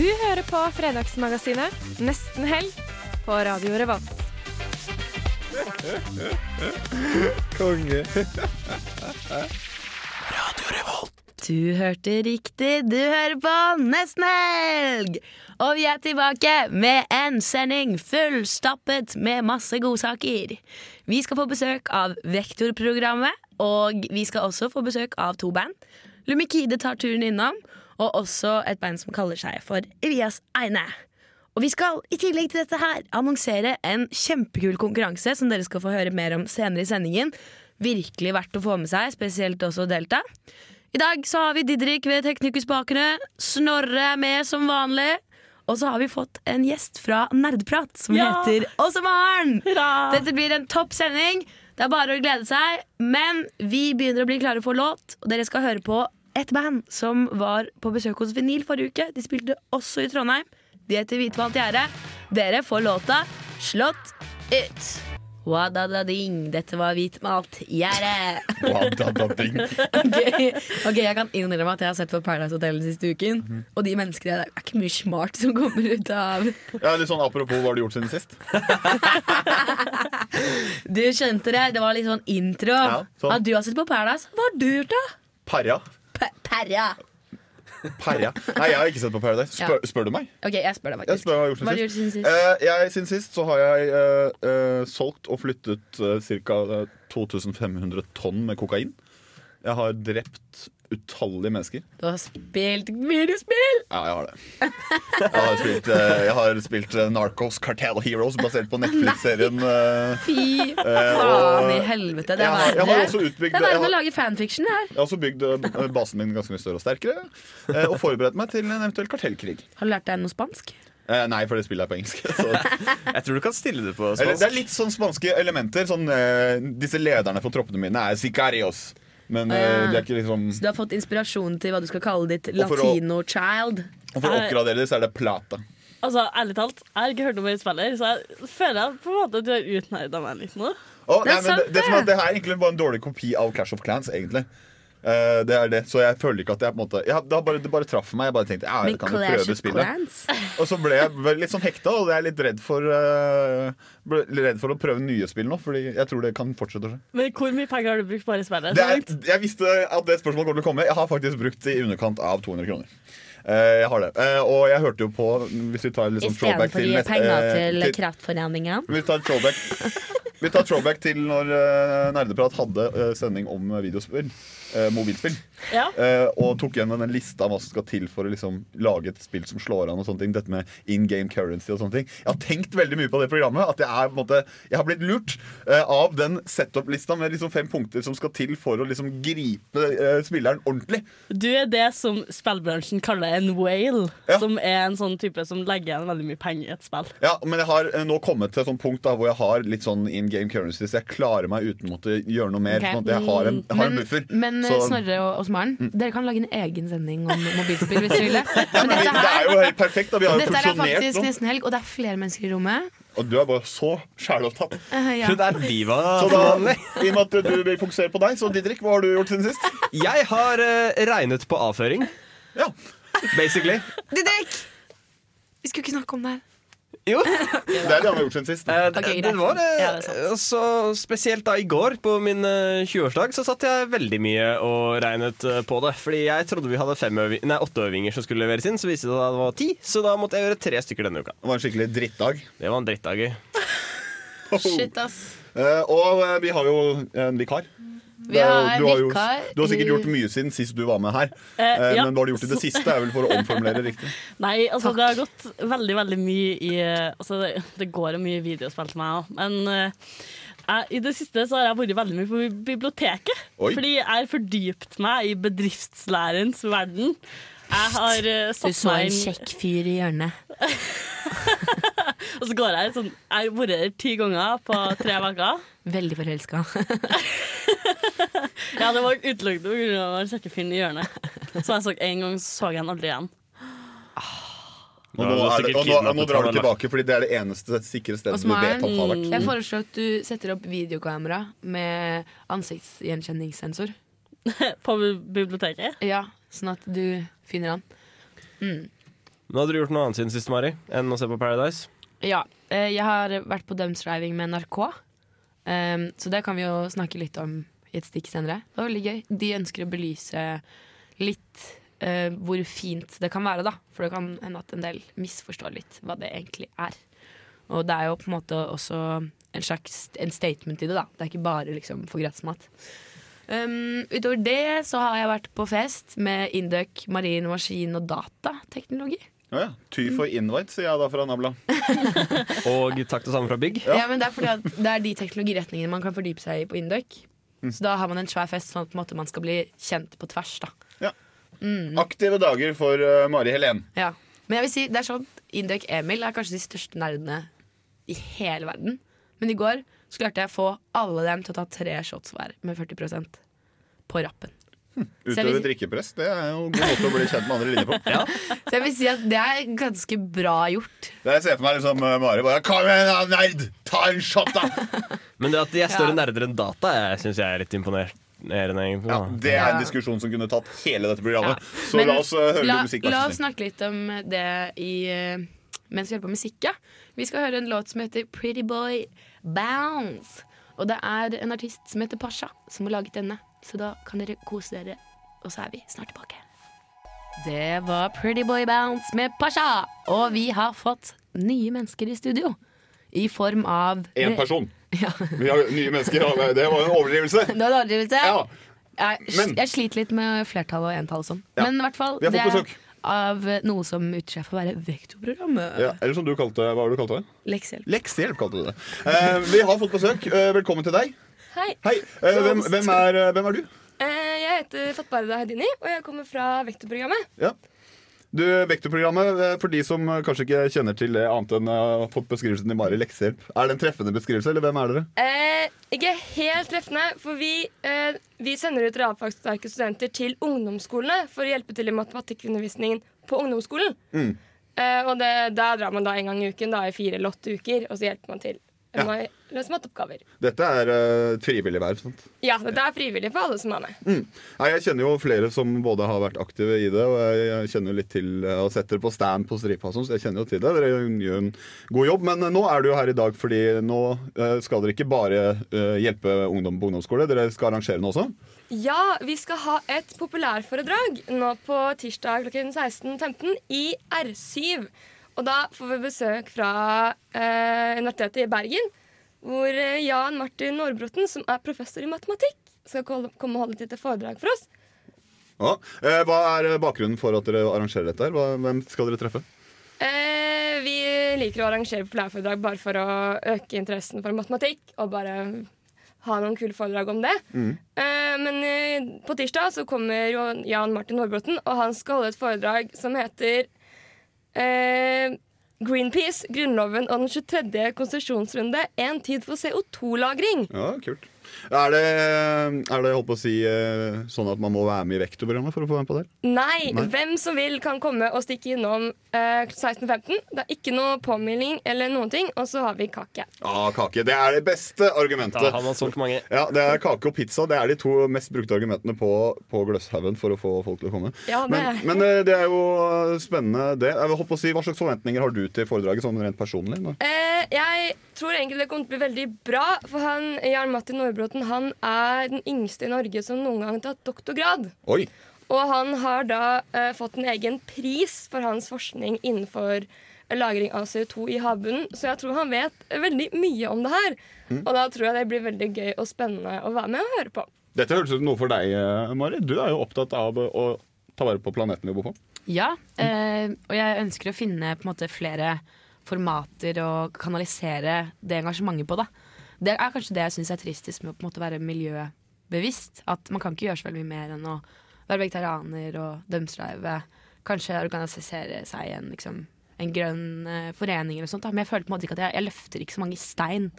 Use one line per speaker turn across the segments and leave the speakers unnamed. Du hører på Fredagsmagasinet, nesten helg, på Radio Revolt.
Konge.
Du hørte riktig, du hører på Nesten Helg! Og vi er tilbake med en sending fullstappet med masse godsaker. Vi skal få besøk av Vektorprogrammet, og vi skal også få besøk av to band. Lumikide tar turen innom, og også et band som kaller seg for Elias Eine. Og vi skal i tillegg til dette her annonsere en kjempekul konkurranse som dere skal få høre mer om senere i sendingen. Virkelig verdt å få med seg, spesielt også å delta. I dag så har vi Didrik ved Teknikerspakene. Snorre er med som vanlig. Og så har vi fått en gjest fra Nerdprat som
Ja!
heter Åse Maren.
Hurra!
Dette blir en topp sending. Det er bare å glede seg. Men vi begynner å bli klare for låt, og dere skal høre på et band som var på besøk hos Vinyl forrige uke. De spilte også i Trondheim. De heter Hvitmalt gjerde. Dere får låta 'Slått ut'. Wadadading. Dette var Hvitmalt gjerde. Ok, ok, jeg kan innrømme at jeg har sett på Paradise Hotel den siste uken. Og de menneskene der det er ikke mye smart som kommer ut av
Ja, litt sånn Apropos hva har du gjort siden sist?
Du skjønte det, det var litt sånn intro.
Ja, sånn.
At du har sett på Paradise. Hva har du gjort, da?
Parja.
P- Perra.
Parja. Nei, jeg har ikke sett på Paradise. Spør, spør du meg?
Ok, jeg spør deg
Jeg
faktisk.
spør hva jeg har gjort
Hva har du
siden
gjort siden
sist.
sist?
Eh, jeg, siden sist så har jeg eh, eh, solgt og flyttet eh, ca. 2500 tonn med kokain. Jeg har drept utallige mennesker.
Du har spilt videospill!
Ja, jeg har det. Jeg har spilt, eh, jeg har spilt eh, Narcos Cartel Heroes basert på Netflix-serien. eh,
Fy faen
og-
i helvete, det
jeg
er
har- jeg har også
verre.
utbygd-
Det er verre
jeg
enn
har-
å lage fanfiction, det her.
Jeg har også bygd eh, basen min ganske mye større og sterkere. eh, Og forberedt meg til en eventuell kartellkrig.
Har du lært deg noe spansk?
Eh, Nei, for det spillet er på engelsk. Så.
Jeg tror du kan stille det på
Eller, det
spansk.
er litt sånn spanske elementer. Sånn, eh, disse lederne for troppene mine er sicarios. Men eh,
Ah.
det er ikke liksom
Så du har fått inspirasjon til hva du skal kalle ditt Eh,
for å-
latino-child?
Og for å oppgradere det, så er det plata.
Altså, ærlig talt, jeg har ikke hørt om en spiller, så jeg føler på en måte at du har utnerda meg litt nå.
Å,
Det er
nei, men det,
sant,
det, som er,
det.
det her er egentlig bare en dårlig kopi av Clash of Clans, egentlig. Eh, det er det, Så jeg føler ikke at jeg på en måte jeg, det, har bare, det bare traff meg. Jeg bare tenkte ja,
Men
jeg kan jo
Clash
prøve
of
spillet.
Clans?
Og så ble jeg vel litt sånn hekta, og jeg er litt redd for, eh, ble litt redd for å prøve nye spill nå. Fordi jeg tror det kan fortsette å skje.
Men hvor mye penger har du brukt bare i spillet?
Det er, jeg visste at det spørsmålet kommer til å komme. Jeg har faktisk brukt i underkant av 200 kroner. Eh, jeg har det. Eh, og jeg hørte jo på Hvis vi tar litt sånn throwback
Istedenfor å
til,
gi
nest-
penger
eh,
til
til-
Kraftforeningen?
Vi tar throwback Vi tar throwback til når eh, Nerdeprat hadde eh, sending om videospill. eh, mobilspill.
Ja.
Eh, og tok igjen den lista av hva som skal til for å liksom, lage et spill som slår an. og sånne ting Dette med in game currency og sånne ting. Jeg har tenkt veldig mye på det programmet. At jeg, er, på en måte, jeg har blitt lurt eh, av den setup-lista med liksom, fem punkter som skal til for å liksom, gripe eh, spilleren ordentlig.
Sånn, Du er det som spillbransjen kaller en whale,
Ja.
som er en sånn type som legger igjen veldig mye penger i et spill.
Ja, Men jeg har eh, nå kommet til et sånt punkt da, hvor jeg har litt sånn in game currency, så jeg klarer meg uten å måtte gjøre noe mer.
Ok.
På en måte, jeg har en, jeg har en buffer.
Men eh,
så- Mm.
Snorre og Osmaren, dere kan lage en egen sending om mobilspill hvis dere vil. det.
Ja,
Men
men vi,
dette
det er
her
jo helt perfekt. Da. Vi har jo
dette her er
fusjonert
faktisk
nå.
nesten helg, og det er flere mennesker i rommet.
Og du er bare så sjælopptatt.
Eh, ja.
Så det er diva.
Så da, I og med at du vil fokusere på deg, så Didrik, hva har du gjort siden sist?
Jeg har eh, regnet på avføring,
Ja.
basically.
Didrik! Vi skulle ikke snakke om det her.
Jo.
Det er det han har gjort siden sist.
Eh,
Ok, greit.
det var eh,
Ja, det er sant.
også, Spesielt da i går, på min eh, 20-årsdag, så satt jeg veldig mye og regnet eh, på det. Fordi jeg trodde vi hadde fem øvi- nei, åtte øvinger som skulle leveres inn, så viste det seg at det var ti. Så da måtte jeg gjøre tre stykker denne uka.
Det var en skikkelig drittdag.
Det var en drittdag. gøy.
Oh.
Shit, ass.
Eh, og eh, vi har jo en vikar.
Vi
Det er jo-
har
du, har jo,
vikar
du har sikkert
i-
gjort mye siden sist du var med her.
Eh,
Eh,
ja.
Men hva har du gjort i det siste? er vel for å omformulere riktig.
Nei, altså det har gått veldig, veldig mye i Altså det, det går jo mye videospill til meg òg, men eh, jeg, i det siste så har jeg vært veldig mye på bi- biblioteket.
Oi.
Fordi jeg har fordypt meg i bedriftslærens verden. Jeg har eh,
Du
satt
så
meg
en
inn
kjekk fyr i hjørnet.
Og så går jeg sånn Jeg har vært her ti ganger på tre uker.
Veldig forelska.
Ja, det var utelukkende på grunn av den kjekke fyren i hjørnet. Som jeg så en gang, så så jeg han aldri igjen.
Og
Da
nå,
har
er
du
det,
sikkert
og nå, og nå
kidnappet
drar
han,
du tilbake, fordi det er det eneste sikre stedet
Og
du vet han har vært. sånn.
Jeg foreslår at du setter opp videokamera med ansiktsgjenkjenningssensor.
På bi- biblioteket.
Ja, sånn at du finner han. Mm.
Nå hadde du gjort noe annet siden sist, Mari, enn å se på Paradise.
Ja, eh, jeg har vært på dumpstriving med NRK, Ehm, så det kan vi jo snakke litt om i et stikk senere. Det var veldig gøy. De ønsker å belyse litt eh, hvor fint det kan være, da. For det kan hende at en del misforstår litt hva det egentlig er. Og det er jo på en måte også en slags en statement i det, da. Det er ikke bare liksom for gressmat. Ehm, utover det så har jeg vært på fest med Induc, marin maskin og datateknologi.
Ja, ja. Ty for invite, sier jeg da fra Nabla.
Og takk det samme fra Big.
Ja. men Det er fordi at det er de teknologiretningene man kan fordype seg i på Induc. Så da har man en svær fest, sånn at på en måte man skal bli kjent på tvers. da mm.
Aktive dager for eh, Mari Helen.
ja. Men jeg vil si, det er sånn Induc Emil er kanskje de største nerdene i hele verden. Men i går så klarte jeg å få alle dem til å ta tre shots hver med 40 på rappen. Så jeg
Utøve
vil-
drikkepress. Det er jo en god måte å bli kjent med andre linjer på.
Så jeg vil si at det er ganske bra gjort.
Det jeg ser for meg liksom eh, Mari bare Kom igjen, da, nerd! Ta en shot, da!
Men det at de er større
Ja.
nerder enn data, jeg syns jeg er litt imponerende, egentlig.
Ja,
da.
det er en
Ja.
diskusjon som kunne tatt hele dette programmet. Så
Men
la oss eh, høre
la,
litt musikk.
la
vær
oss
så snill.
snakke litt om det i, eh, mens vi holder på med musikk. Ja. Vi skal høre en låt som heter Pretty Boy Bounce. Og det er en artist som heter Pasha, som har laget denne. Så da kan dere kose dere, og så er vi snart tilbake. Det var Pretty Boy Bounce med Pasha. Og vi har fått nye mennesker i studio. I form av
En person. Vi har nye mennesker. ja, Det var en overdrivelse.
Det var en overdrivelse.
Ja.
Jeg,
Men-
jeg sliter litt med flertall og entall og sånn.
Ja.
Men i hvert fall,
Vi har
det
fått
er av noe som utgir seg for å være vektorprogrammet.
Ja, eller som du kalte Hva var det du kalte det?
Leksehjelp.
Leksehjelp kalte du det. Eh, vi har fått besøk. Eh, velkommen til deg.
Hei.
Hei. Eh, hvem, hvem, er, eh, hvem er du?
Eh, Jeg heter Fatbarda Hedini, og jeg kommer fra Vektorprogrammet.
Ja. Du, Vektorprogrammet, eh, for de som eh, kanskje ikke kjenner til det annet enn eh, har fått beskrivelsen til Mari Leksehjelp, er det en treffende beskrivelse, eller hvem er dere?
Eh, ikke helt treffende, for vi, eh, vi sender ut realfagssterke studenter til ungdomsskolene for å hjelpe til i matematikkundervisningen på ungdomsskolen.
Mm,
Eh, og det, der drar man da en gang i uken, da i fire eller åtte uker, og så hjelper man til
Ja.
med å løse matteoppgaver.
Dette er eh, et frivillig verv. sant?
Ja, dette er frivillig for alle som er med.
Nei, Jeg kjenner jo flere som både har vært aktive i det, og jeg jeg kjenner jo litt til eh, og setter på stand på stripa og sånn, så jeg kjenner jo til det. Dere gjør en god jobb, men eh, nå er du jo her i dag fordi nå eh, skal dere ikke bare eh, hjelpe ungdom på ungdomsskole, dere skal arrangere noe også.
Ja, vi skal ha et populærforedrag nå på tirsdag klokken 16.15 i R7. Og da får vi besøk fra eh, Universitetet i Bergen, hvor eh, Jan Martin Nårbrotten, som er professor i matematikk, skal kol- komme og holde et lite foredrag for oss.
Ja. Eh, Hva er bakgrunnen for at dere arrangerer dette? her? Hva- Hvem skal dere treffe?
Eh, vi liker å arrangere populærforedrag bare for å øke interessen for matematikk og bare ha noen kule foredrag om det.
mm.
Eh, men eh, på tirsdag så kommer jo Jan Martin Hårbråten, og han skal holde et foredrag som heter eh, Greenpeace, Grunnloven og den 23. konsesjonsrunde. En tid for CO2-lagring.
Ja, kult. Er det, er det holdt på å si, eh, sånn at man må være med i Vektorprogrammet for å få være med på det?
Nei,
Nei.
hvem som vil kan komme og stikke innom eh, 16.15. Det er ikke noe påmelding eller noen ting. Og så har vi kake.
Ja, kake. Det er det beste argumentet.
Da har man solgt mange.
Ja, det er Kake og pizza det er de to mest brukte argumentene på, på Gløshaugen for å få folk til å komme.
Ja, det
men,
er-
men eh, det er jo spennende, det. Jeg holdt på å si, Hva slags forventninger har du til foredraget sånn rent personlig? nå?
Eh, jeg tror egentlig det kommer til å bli veldig bra, for han, Jarl Martin Nordbråten han er den yngste i Norge som noen gang har tatt doktorgrad.
Oi!
Og han har da eh, fått en egen pris for hans forskning innenfor lagring av CO2 i havbunnen, så jeg tror han vet veldig mye om det her.
Mm.
Og da tror jeg det blir veldig gøy og spennende å være med og høre på.
Dette høres ut som noe for deg, eh, Mari. Du er jo opptatt av eh, å ta vare på planeten vi bor på.
Ja, eh, og jeg ønsker å finne på en måte flere formater og kanalisere det engasjementet på. Da. Det er kanskje det jeg syns er tristest med å på en måte være miljøbevisst. At man kan ikke gjøre så veldig mye mer enn å være vegetarianer og dumpstrive. kanskje organisere seg i en, liksom, en grønn eh, forening eller sånt. Da. Men jeg føler på en måte ikke at jeg, jeg løfter ikke så mange stein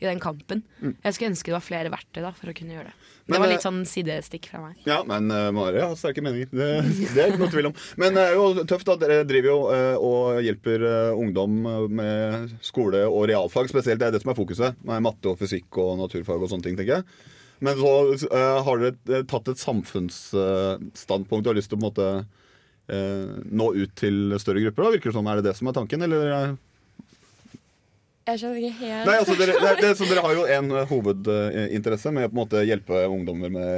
i den kampen.
Mm.
Jeg skulle ønske det var flere verktøy da, for å kunne gjøre det.
Men,
det var
eh,
litt sånn sidestikk fra meg.
Ja, men uh, Mari har sterke meninger. Det, det er ikke noe tvil om. Men det er jo tøft at dere driver jo eh, og hjelper eh, ungdom eh, med skole og realfag spesielt. Det er det som er fokuset. Med matte og fysikk og naturfag og sånne ting, tenker jeg. Men så eh, har dere tatt et samfunnsstandpunkt og har lyst til å på en måte eh, nå ut til større grupper. Da. Virker det som, Er det det som er tanken, eller? eh?
Jeg skjønner ikke helt
Nei, altså dere, det, det, så dere har jo en eh, hovedinteresse med å på en måte hjelpe ungdommer med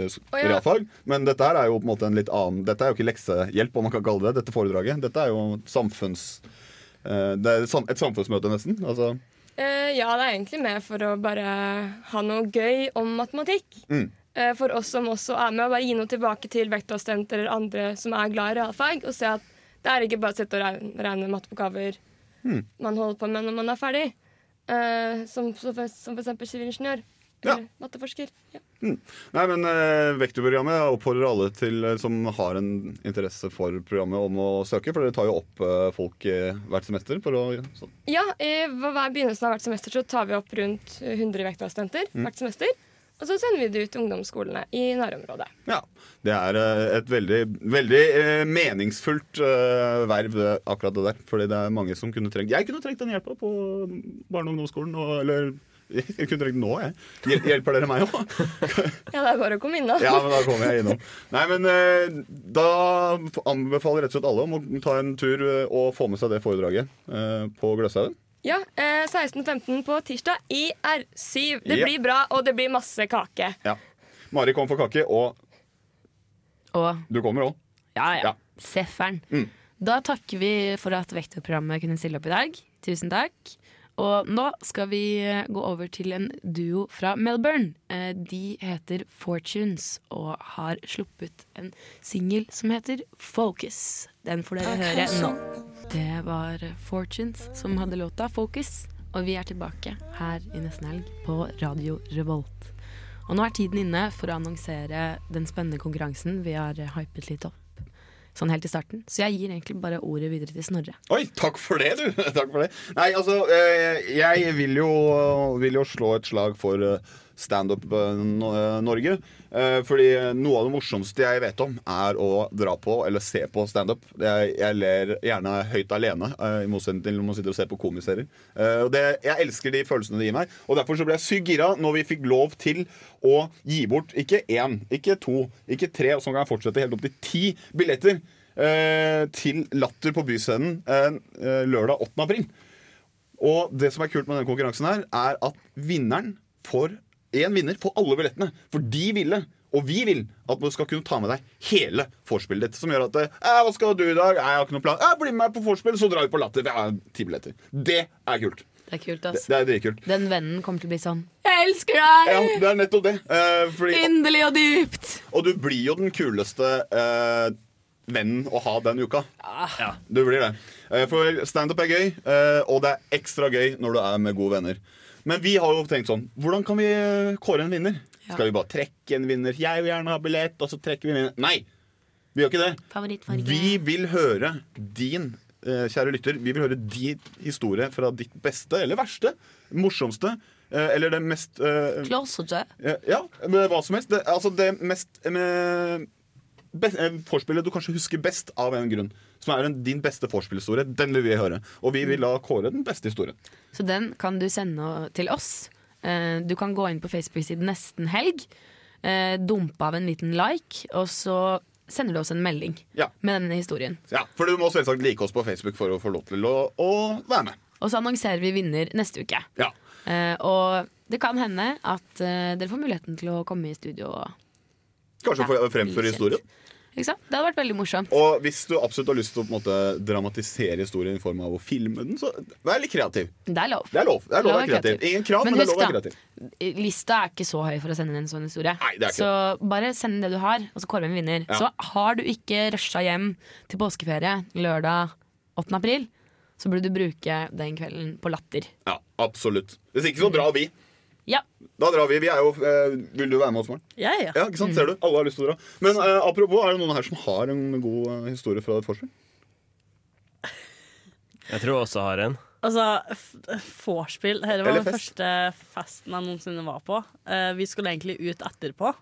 eh, s-
Å, ja.
realfag. Men dette her er jo på en måte en litt annen Dette er jo ikke leksehjelp, om man kan kalle det dette foredraget. Dette er jo samfunns... eh, Det er sam- et samfunnsmøte, nesten. Altså,
Eh, ja, det er egentlig med for å bare ha noe gøy om matematikk.
mm.
Eh, for oss som også er med, å bare gi noe tilbake til vektavstemte eller andre som er glad i realfag, og se at det er ikke bare å sitte og regne, regne matteoppgaver
Mm.
man holder på med når man er ferdig. Eh, som, som, for- som for eksempel sivilingeniør. Eller matteforsker. Ja.
Mm. Nei, men eh, Vektorprogrammet oppfordrer alle til, eh, som har en interesse for programmet, om å søke. For dere tar jo opp eh, folk eh, hvert semester. For å, sånn.
Ja, eh, hver hver begynnelsen av hvert semester så tar vi opp rundt 100 vektavstenter
Mm.
hvert semester. Og så sender vi det ut til ungdomsskolene i nærområdet.
Ja, Det er eh, et veldig, veldig eh, meningsfullt eh, verv, eh, akkurat det der. Fordi det er mange som kunne trengt Jeg kunne trengt den hjelpa på barne- og ungdomsskolen. Og, eller jeg kunne trengt den nå, jeg. Hjel- Hjelper dere meg òg?
Ja, det er bare å komme innom.
Ja, men da kommer jeg innom. Nei, men eh, da anbefaler rett og slett alle om å ta en tur eh, og få med seg det foredraget eh, på Gløshaugen.
Ja, eh, 16.15 på tirsdag i R7. Det
Ja.
blir bra, og det blir masse kake.
Ja. Mari kom for kake, og
Og
du kommer òg.
ja, ja.
Ja.
Sefferen.
Mm.
Da takker vi for at Vektorprogrammet kunne stille opp i dag. Tusen takk. Og nå skal vi eh, gå over til en duo fra Melbourne. Eh, De heter Fortunes og har sluppet en singel som heter Focus. Den får dere høre nå. Det var Fortunes som hadde låta Focus. Og vi er tilbake her i nesten helg på Radio Revolt. Og nå er tiden inne for å annonsere den spennende konkurransen vi har eh, hypet litt opp sånn helt i starten. Så jeg gir egentlig bare ordet videre til Snorre.
Oi, takk for det, du! Takk for det. Nei, altså, eh, jeg vil jo, vil jo slå et slag for eh, standup eh, no- eh, Norge. Eh, Fordi noe av det morsomste jeg vet om, er å dra på eller se på standup. Jeg, jeg ler gjerne høyt alene, eh, i motsetning til når man sitter og ser på komiserier. Eh, Og det, jeg elsker de følelsene det gir meg. Og derfor så ble jeg sykt gira når vi fikk lov til å gi bort ikke én, ikke to, ikke tre, og sånn kan jeg fortsette helt opp til ti billetter eh, til Latter på Byscenen eh, eh, lørdag 8. april. Og det som er kult med denne konkurransen her, er at vinneren får én vinner får alle billettene. For de ville, og vi vil, at du skal kunne ta med deg hele vorspielet ditt. Som gjør at eh, 'Hva skal du i dag?' «Eh, 'Jeg har ikke noen plan.' «Eh, 'Bli med meg på vorspiel, så drar vi på Latter.' Jeg har ti billetter. Det er kult.
Det er kult,
Det,
ass.
det er dritkult.
Den vennen kommer til å bli sånn Jeg elsker deg!
Ja, det er nettopp det. Eh, fordi,
Inderlig og dypt!
og du blir jo den kuleste eh, vennen å ha den uka.
Ah.
Du blir det. Eh, For standup er gøy, eh, og det er ekstra gøy når du er med gode venner. Men vi har jo tenkt sånn Hvordan kan vi eh, kåre en vinner? Skal vi bare trekke en vinner? Jeg vil gjerne ha billett, og så trekker vi en vinner. Nei! Vi gjør ikke det.
Favorittfarge.
Vi vil høre din, eh, kjære lytter, vi vil høre din historie fra ditt beste eller verste. Morsomste. eh, Eller det mest eh,
Klåsete.
ja, ja, men hva som helst. Det, altså det mest med, best, eh, Forspillet du kanskje husker best av en grunn. Som er en, din beste forspillhistorie. Den vil vi høre. Og vi vil da kåre den beste historien.
Så den kan du sende til oss. Eh, Du kan gå inn på Facebook-siden nesten helg, eh, dumpe av en liten like, og så sender du oss en melding
Ja.
med denne historien.
Ja, For du må selvsagt like oss på Facebook for å få lov til å, å være med.
Og så annonserer vi vinner neste uke.
Ja.
Eh, Og det kan hende at eh, dere får muligheten til å komme i studio. og-
Kanskje få fremføre historien.
Ikke sant? Det hadde vært veldig morsomt.
Og hvis du absolutt har lyst til å på en måte, dramatisere historien i form av å filme den, så vær litt kreativ.
Det er lov.
Det er lov. Det er lov å være kreativ. Ingen krav, men, det er lov å være
da,
kreativ.
Lista er ikke så høy for å sende inn en sånn historie.
det er ikke
så bare send inn det du har, og så kårer vi en vinner.
Ja.
Så har du ikke rusha hjem til påskeferie lørdag 8. april, så burde du bruke den kvelden på latter.
Ja, absolutt. Hvis ikke så drar vi.
Ja.
Da drar vi. vi er jo, eh, vil du være med oss, Maren?
Ja, ja.
ikke sant? Ser du? Alle har lyst til å dra. Men eh, apropos, er det noen her som har en god eh, historie fra et vorspiel?
Jeg tror jeg også har en.
Altså, f- vorspiel Dette var
Eller
den
fest.
første festen jeg noensinne var på. Eh, vi skulle egentlig ut etterpå,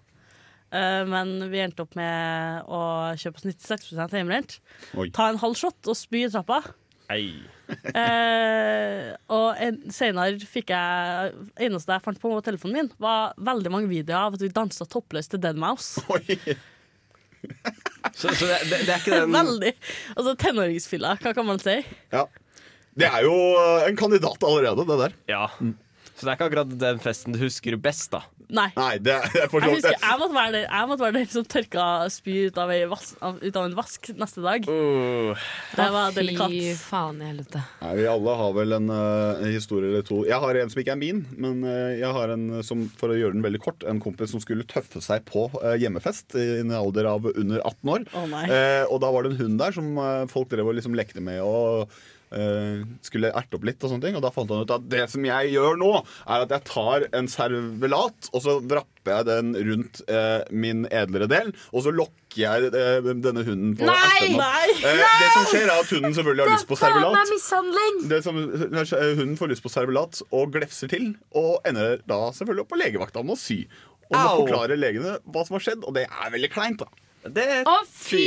eh, men vi endte opp med å kjøpe oss 96 hjemmebrent.
Oi.
Ta en halv shot og spy i trappa.
Ei.
Eh, og en- senere fikk jeg eneste jeg fant på telefonen min, var veldig mange videoer av at vi dansa toppløst til Deadmouse.
Så, så det, det, det er ikke den
Veldig. Altså tenåringsfylla, hva kan man si?
Ja. Det er jo eh, en kandidat allerede, det der. Mm.
Ja. Så det er ikke akkurat den festen du husker best, da.
Nei.
Nei, det er, det er for
Jeg
så vidt
husker jeg måtte være den, jeg måtte være den som tørka spy ut av, ei vas, av, ut av en vask neste dag. Det var delikat.
Fy faen i helvete.
Nei, Vi alle har vel en eh, historie eller to. Jeg har en som ikke er min, men eh, jeg har en eh, som, for å gjøre den veldig kort, en kompis som skulle tøffe seg på eh, hjemmefest i en alder av under 18 år.
Å, nei.
Eh, og da var det en hund der som eh, folk drev og liksom lekte med og eh, skulle erte opp litt og sånne ting. Og da fant han ut at det som jeg gjør nå, er at jeg tar en servelat, og så vrapper jeg den rundt eh, min edlere del, og så lokker jeg eh, denne hunden på å
Nei!
erte den opp.
Nei!
Eh, Det som skjer, er at hunden selvfølgelig har lyst på servelat.
mishandling!
Det som, hunden får lyst på servelat og glefser til, og ender da selvfølgelig opp på legevakta med å sy. Og må
Au!
forklare legene hva som har skjedd, og det er veldig kleint, da.
Å, fy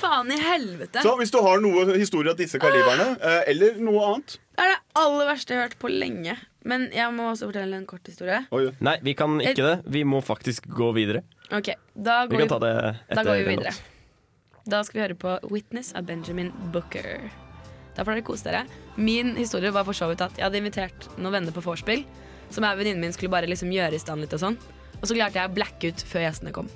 faen i helvete!
Så hvis du har noe historie av disse kaliberne, eh, eller noe annet
Det er det aller verste jeg har hørt på lenge. Men jeg må også fortelle en kort historie.
Nei, vi kan ikke det. Vi må faktisk gå videre.
Ok, da
Vi
går
kan ta det
da
etter
går vi
den
videre.
låten.
Da skal vi høre på 'Witness' av Benjamin Booker. Da får dere kose dere. Min historie var for så vidt at jeg hadde invitert noen venner på vorspiel. Som jeg og venninnen min skulle bare liksom gjøre i stand litt og sånn. Og så klarte jeg å blacke ut før gjestene kom.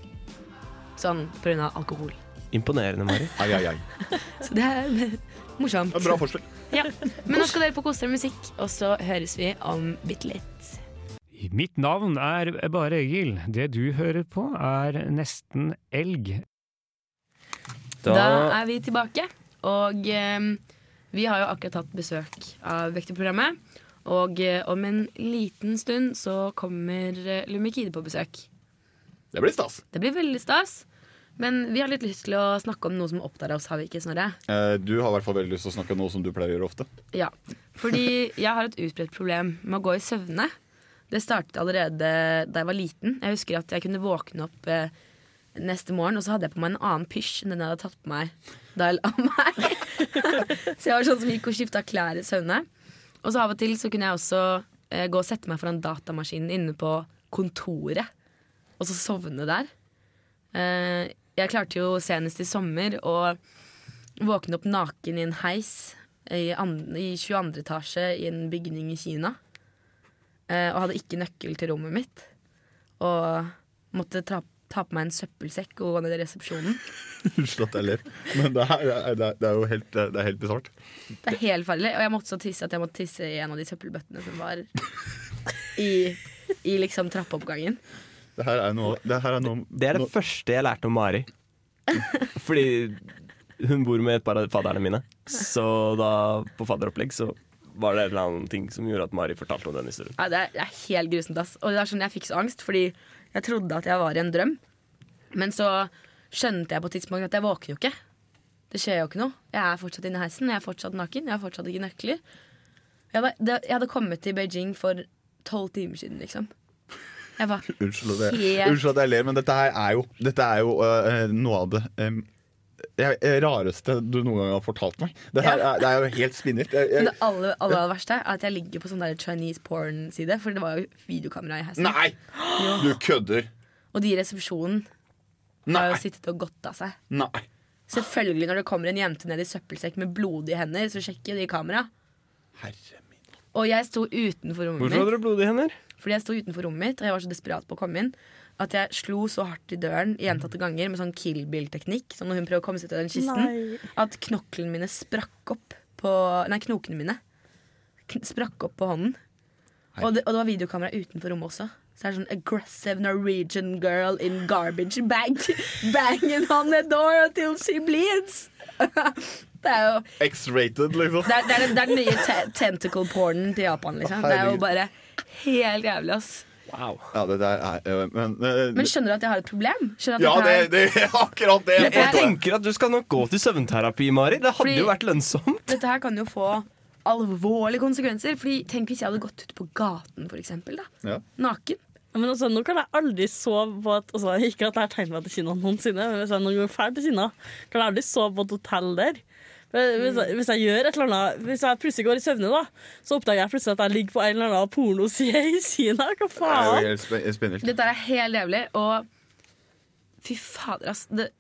Sånn pga. alkohol.
Imponerende, Mari.
Ai, ai, ai.
Så det er morsomt.
Bra forslag.
Ja. Men nå skal dere få kose dere med musikk, og så høres vi om bitte litt.
Mitt navn er Bare Egil. Det du hører på, er nesten elg.
Da, er vi tilbake, og eh, vi har jo akkurat hatt besøk av Vekterprogrammet. Og eh, om en liten stund så kommer eh, Lumikide på besøk.
Det blir stas.
Det blir veldig stas. Men vi har litt lyst til å snakke om noe som opptar oss, har vi ikke, Snorre?
Eh, Du har i hvert fall veldig lyst til å snakke om noe som du pleier å gjøre ofte.
Ja, fordi jeg har et utbredt problem med å gå i søvne. Det startet allerede da jeg var liten. Jeg husker at jeg kunne våkne opp eh, neste morgen, og så hadde jeg på meg en annen pysj enn den jeg hadde tatt på meg da jeg la meg. så jeg var sånn som gikk og skifta klær i søvne. Og så av og til så kunne jeg også eh, gå og sette meg foran datamaskinen inne på kontoret, og så sovne der. Eh, jeg klarte jo senest i sommer å våkne opp naken i en heis i, an- i 22. etasje i en bygning i Kina. Eh, og hadde ikke nøkkel til rommet mitt. Og måtte ta, ta på meg en søppelsekk og gå ned i resepsjonen.
Unnskyld at jeg ler, men det er, det er, det er jo helt, det er helt bisart.
Det er helt farlig. Og jeg måtte så tisse at jeg måtte tisse i en av de søppelbøttene som var i, i liksom trappeoppgangen.
Det her er noe Det, her er noe,
det er det første jeg lærte om Mari. Fordi hun bor med et par av fadderne mine. Så da, på fadderopplegg, så var det en eller annen ting som gjorde at Mari fortalte om den historien.
Ja, det, er, det er helt grusomt. Ass. Og det er sånn jeg fikk så angst, fordi jeg trodde at jeg var i en drøm. Men så skjønte jeg på et tidspunkt at jeg våkner jo ikke. Det skjer jo ikke noe. Jeg er fortsatt inne i heisen, jeg er fortsatt naken, jeg har fortsatt ikke nøkler. Jeg, var, det, jeg hadde kommet til Beijing for tolv timer siden, liksom. Jeg var
Unnskyld at, jeg,
Helt-
unnskyld at jeg ler, men dette her er jo, dette er jo øh, øh, noe av det øhm, jeg- eh, rareste du noen gang har fortalt meg. Det her er, det er jo helt spinnvilt. Jeg- jeg-
Men det aller, aller, aller verste er at jeg ligger på sånn der Chinese porn-side, for det var jo videokamera i heisen.
Nei! Du kødder.
Og de i resepsjonen har jo sittet og godta seg.
Nei.
Selvfølgelig når det kommer en jente ned i søppelsekk med blodige hender, så sjekker de kamera. Og jeg sto utenfor rommet
Hvorfor hadde du blodige hender?
Fordi jeg sto utenfor rommet mitt, og jeg var så desperat på å komme inn at jeg slo så hardt i døren gjentatte ganger med sånn Kill Bill-teknikk, sånn når hun prøver å komme seg ut av den kisten,
Nei.
at knoklene mine sprakk opp på Nei, knokene mine kn sprakk opp på hånden. Og det, og det var videokamera utenfor rommet også. Så det er sånn aggressive Norwegian girl in garbage bag banging on the door until she bleeds. det er jo
X-rated, liksom.
det er, det er, det er den nye te tentacle pornen til Japan, liksom. Det er jo
Herregud.
bare helt jævlig, ass.
Ja, det der er øh, Men, øh,
Men skjønner du at jeg har et problem? Skjønner du
Ja,
at dette
det, det er akkurat det!
Jeg tenker at du skal nok gå til søvnterapi, Mari. Det hadde
Fordi-
jo vært lønnsomt.
her, dette her kan jo få alvorlige konsekvenser. Fordi tenk hvis jeg hadde gått ut på gaten, for eksempel, da. Naken.
Men altså, nå kan jeg aldri sove på et altså, Ikke at jeg har tenkt meg til Kina noensinne, men hvis jeg noen gang drar til Kina, kan jeg aldri sove på et hotell der. Men Hvis jeg, hvis jeg gjør et eller annet Hvis jeg plutselig går i søvne, da, så oppdager jeg plutselig at jeg ligger på en eller annen pornoside i Kina. Hva
Det er
faen?
jo helt spe- spinnvilt.
Dette er helt jævlig, og fy fader, ass. Det,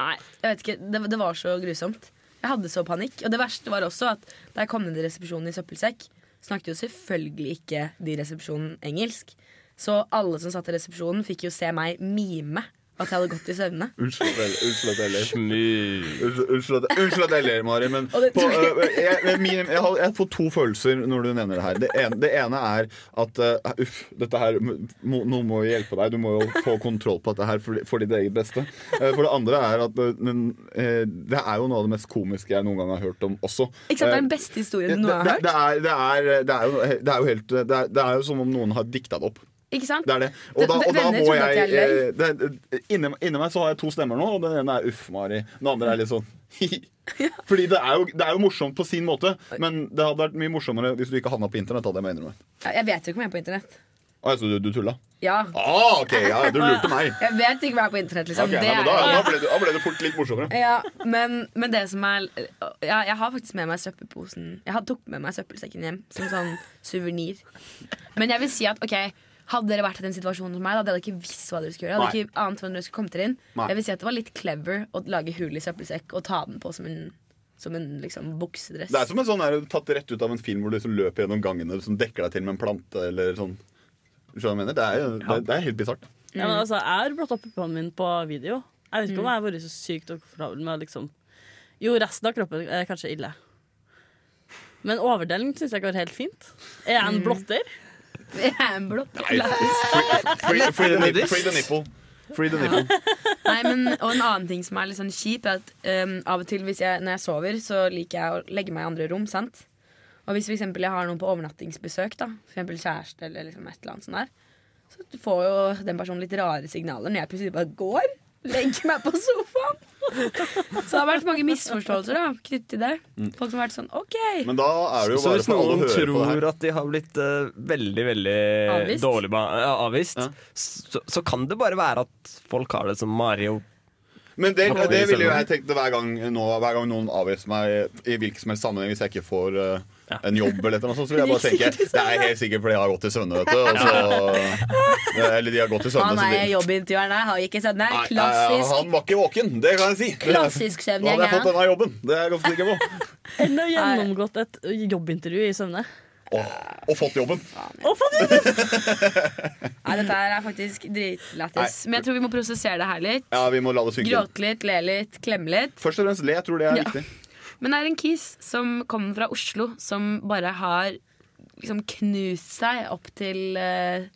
nei, jeg vet ikke. Det, det var så grusomt. Jeg hadde så panikk. Og det verste var også at da jeg kom ned i resepsjonen i søppelsekk, snakket jo selvfølgelig ikke de i resepsjonen engelsk. Så alle som satt i resepsjonen, fikk jo se meg mime at jeg hadde gått i søvne.
Unnskyld at jeg- unnskyld at jeg ler. Unnskyld- Unnskyld at- unnskyld at jeg ler, Mari. Men
Og
på,
det-
øh, jeg, jeg- min, jeg, har- jeg får to følelser når du nevner det her. Det ene, det ene er at øh, uff, dette her må, Nå må vi hjelpe deg. Du må jo få kontroll på dette her for, for ditt eget beste. Eh, For det andre er at øh, men, eh, det er jo noe av det mest komiske jeg noen gang har hørt om også.
Ikke sant, Det
Eh,
er den beste
det,
historien du
det,
noen gang har hørt.
det, er, det, er, det, er jo, det er jo helt Det er, det er jo som om noen har dikta det opp.
Ikke sant?
Det er det. Og da, og da
Venner
må
trodde at
jeg
jeg løy.
eh, det, det- inni, inni meg så har jeg to stemmer nå, og den ene er uff, Mari. Den andre er litt sånn Fordi det er, jo, det er jo morsomt på sin måte, men det hadde vært mye morsommere hvis du ikke havna på internett. Hadde jeg må innrømme.
Ja, Jeg vet jo ikke om jeg er på internett.
Ah, så du, du tulla?
Ja.
Ah, ok, ja, du lurte meg.
Jeg vet ikke om jeg er på internett, liksom.
Ok,
Det
nei, men
er
da,
jeg.
da, ble det, da ble det fort litt morsommere.
Ja, men, men det som er ja, Jeg har faktisk med meg søppelposen Jeg har tok med meg søppelsekken hjem som sånn suvenir. Men jeg vil si at ok, hadde dere vært i den situasjonen som meg, da hadde dere ikke visst hva dere skulle gjøre. Hadde
Nei.
ikke ant hvordan dere skulle komme dere inn
Nei.
Jeg vil si at det var litt clever å lage hull i søppelsekk og ta den på som en, som en liksom, buksedress.
Det er som en sånn der, tatt rett ut av en film hvor du liksom løper gjennom gangene som dekker deg til med en plante eller sånn. Skjønner du hva jeg mener? Det er, jo- det, det er helt bisart.
Ja, men altså, jeg har blått opp puppene mine på video. Jeg vet
Mm.
ikke om jeg har vært så sykt ukomfortabel med å liksom Jo, resten av kroppen er kanskje ille. Men overdelen syns jeg går helt fint. Er jeg en blotter?
Jeg er en blotter.
Mm. Nei, Free, free, the, nip- free the nipple. Free the nipple.
Nei, men, og en annen ting som er litt sånn kjip, er at um, av og til hvis jeg, når jeg sover, så liker jeg å legge meg i andre rom. sant? Og hvis for eksempel jeg har noen på overnattingsbesøk, da, for eksempel kjæreste eller liksom et eller annet sånt der, så får jo den personen litt rare signaler når jeg plutselig bare går. Legger meg på sofaen. Så det har vært mange misforståelser da, knyttet til det.
Mm.
Folk som har vært sånn OK.
Men da er det jo
så
bare
hvis
for alle
noen
å høre på det her.
tror at de har blitt eh, veldig veldig
Avvist?
dårlig be- ja, avvist, så, så kan det bare være at folk har det som Mario.
Men det,
Akkurat.
det ville jo jeg tenkt hver gang, nå, hver gang noen avviser meg i hvilken som helst sammenheng hvis jeg ikke får eh, en jobb, eller noe sånt, så vil jeg bare tenke Det er helt sikkert fordi jeg har gått i søvne, vet du. Og altså, så, eller de har gått i søvne.
Han
så
er
de-
Ah, jobbintervjueren her, har ikke sett den her.
Nei, eh,
Klassisk.
han var ikke våken, det kan jeg si.
Klassisk søvngjeng,
Da hadde jeg
ja.
fått denne jobben. Det er jeg ganske sikker på.
Eller gjennomgått et jobbintervju i søvne?
Og, og fått jobben.
Nei, dette her er faktisk dritlættis.
Nei.
Men jeg tror vi må prosessere det her litt.
Ja, vi må la det synke inn.
Gråte litt, le litt, klemme litt.
Først og fremst le, jeg tror det er
Ja.
viktig.
Men det er en kis som kommer fra Oslo, som bare har liksom knust seg opp til eh,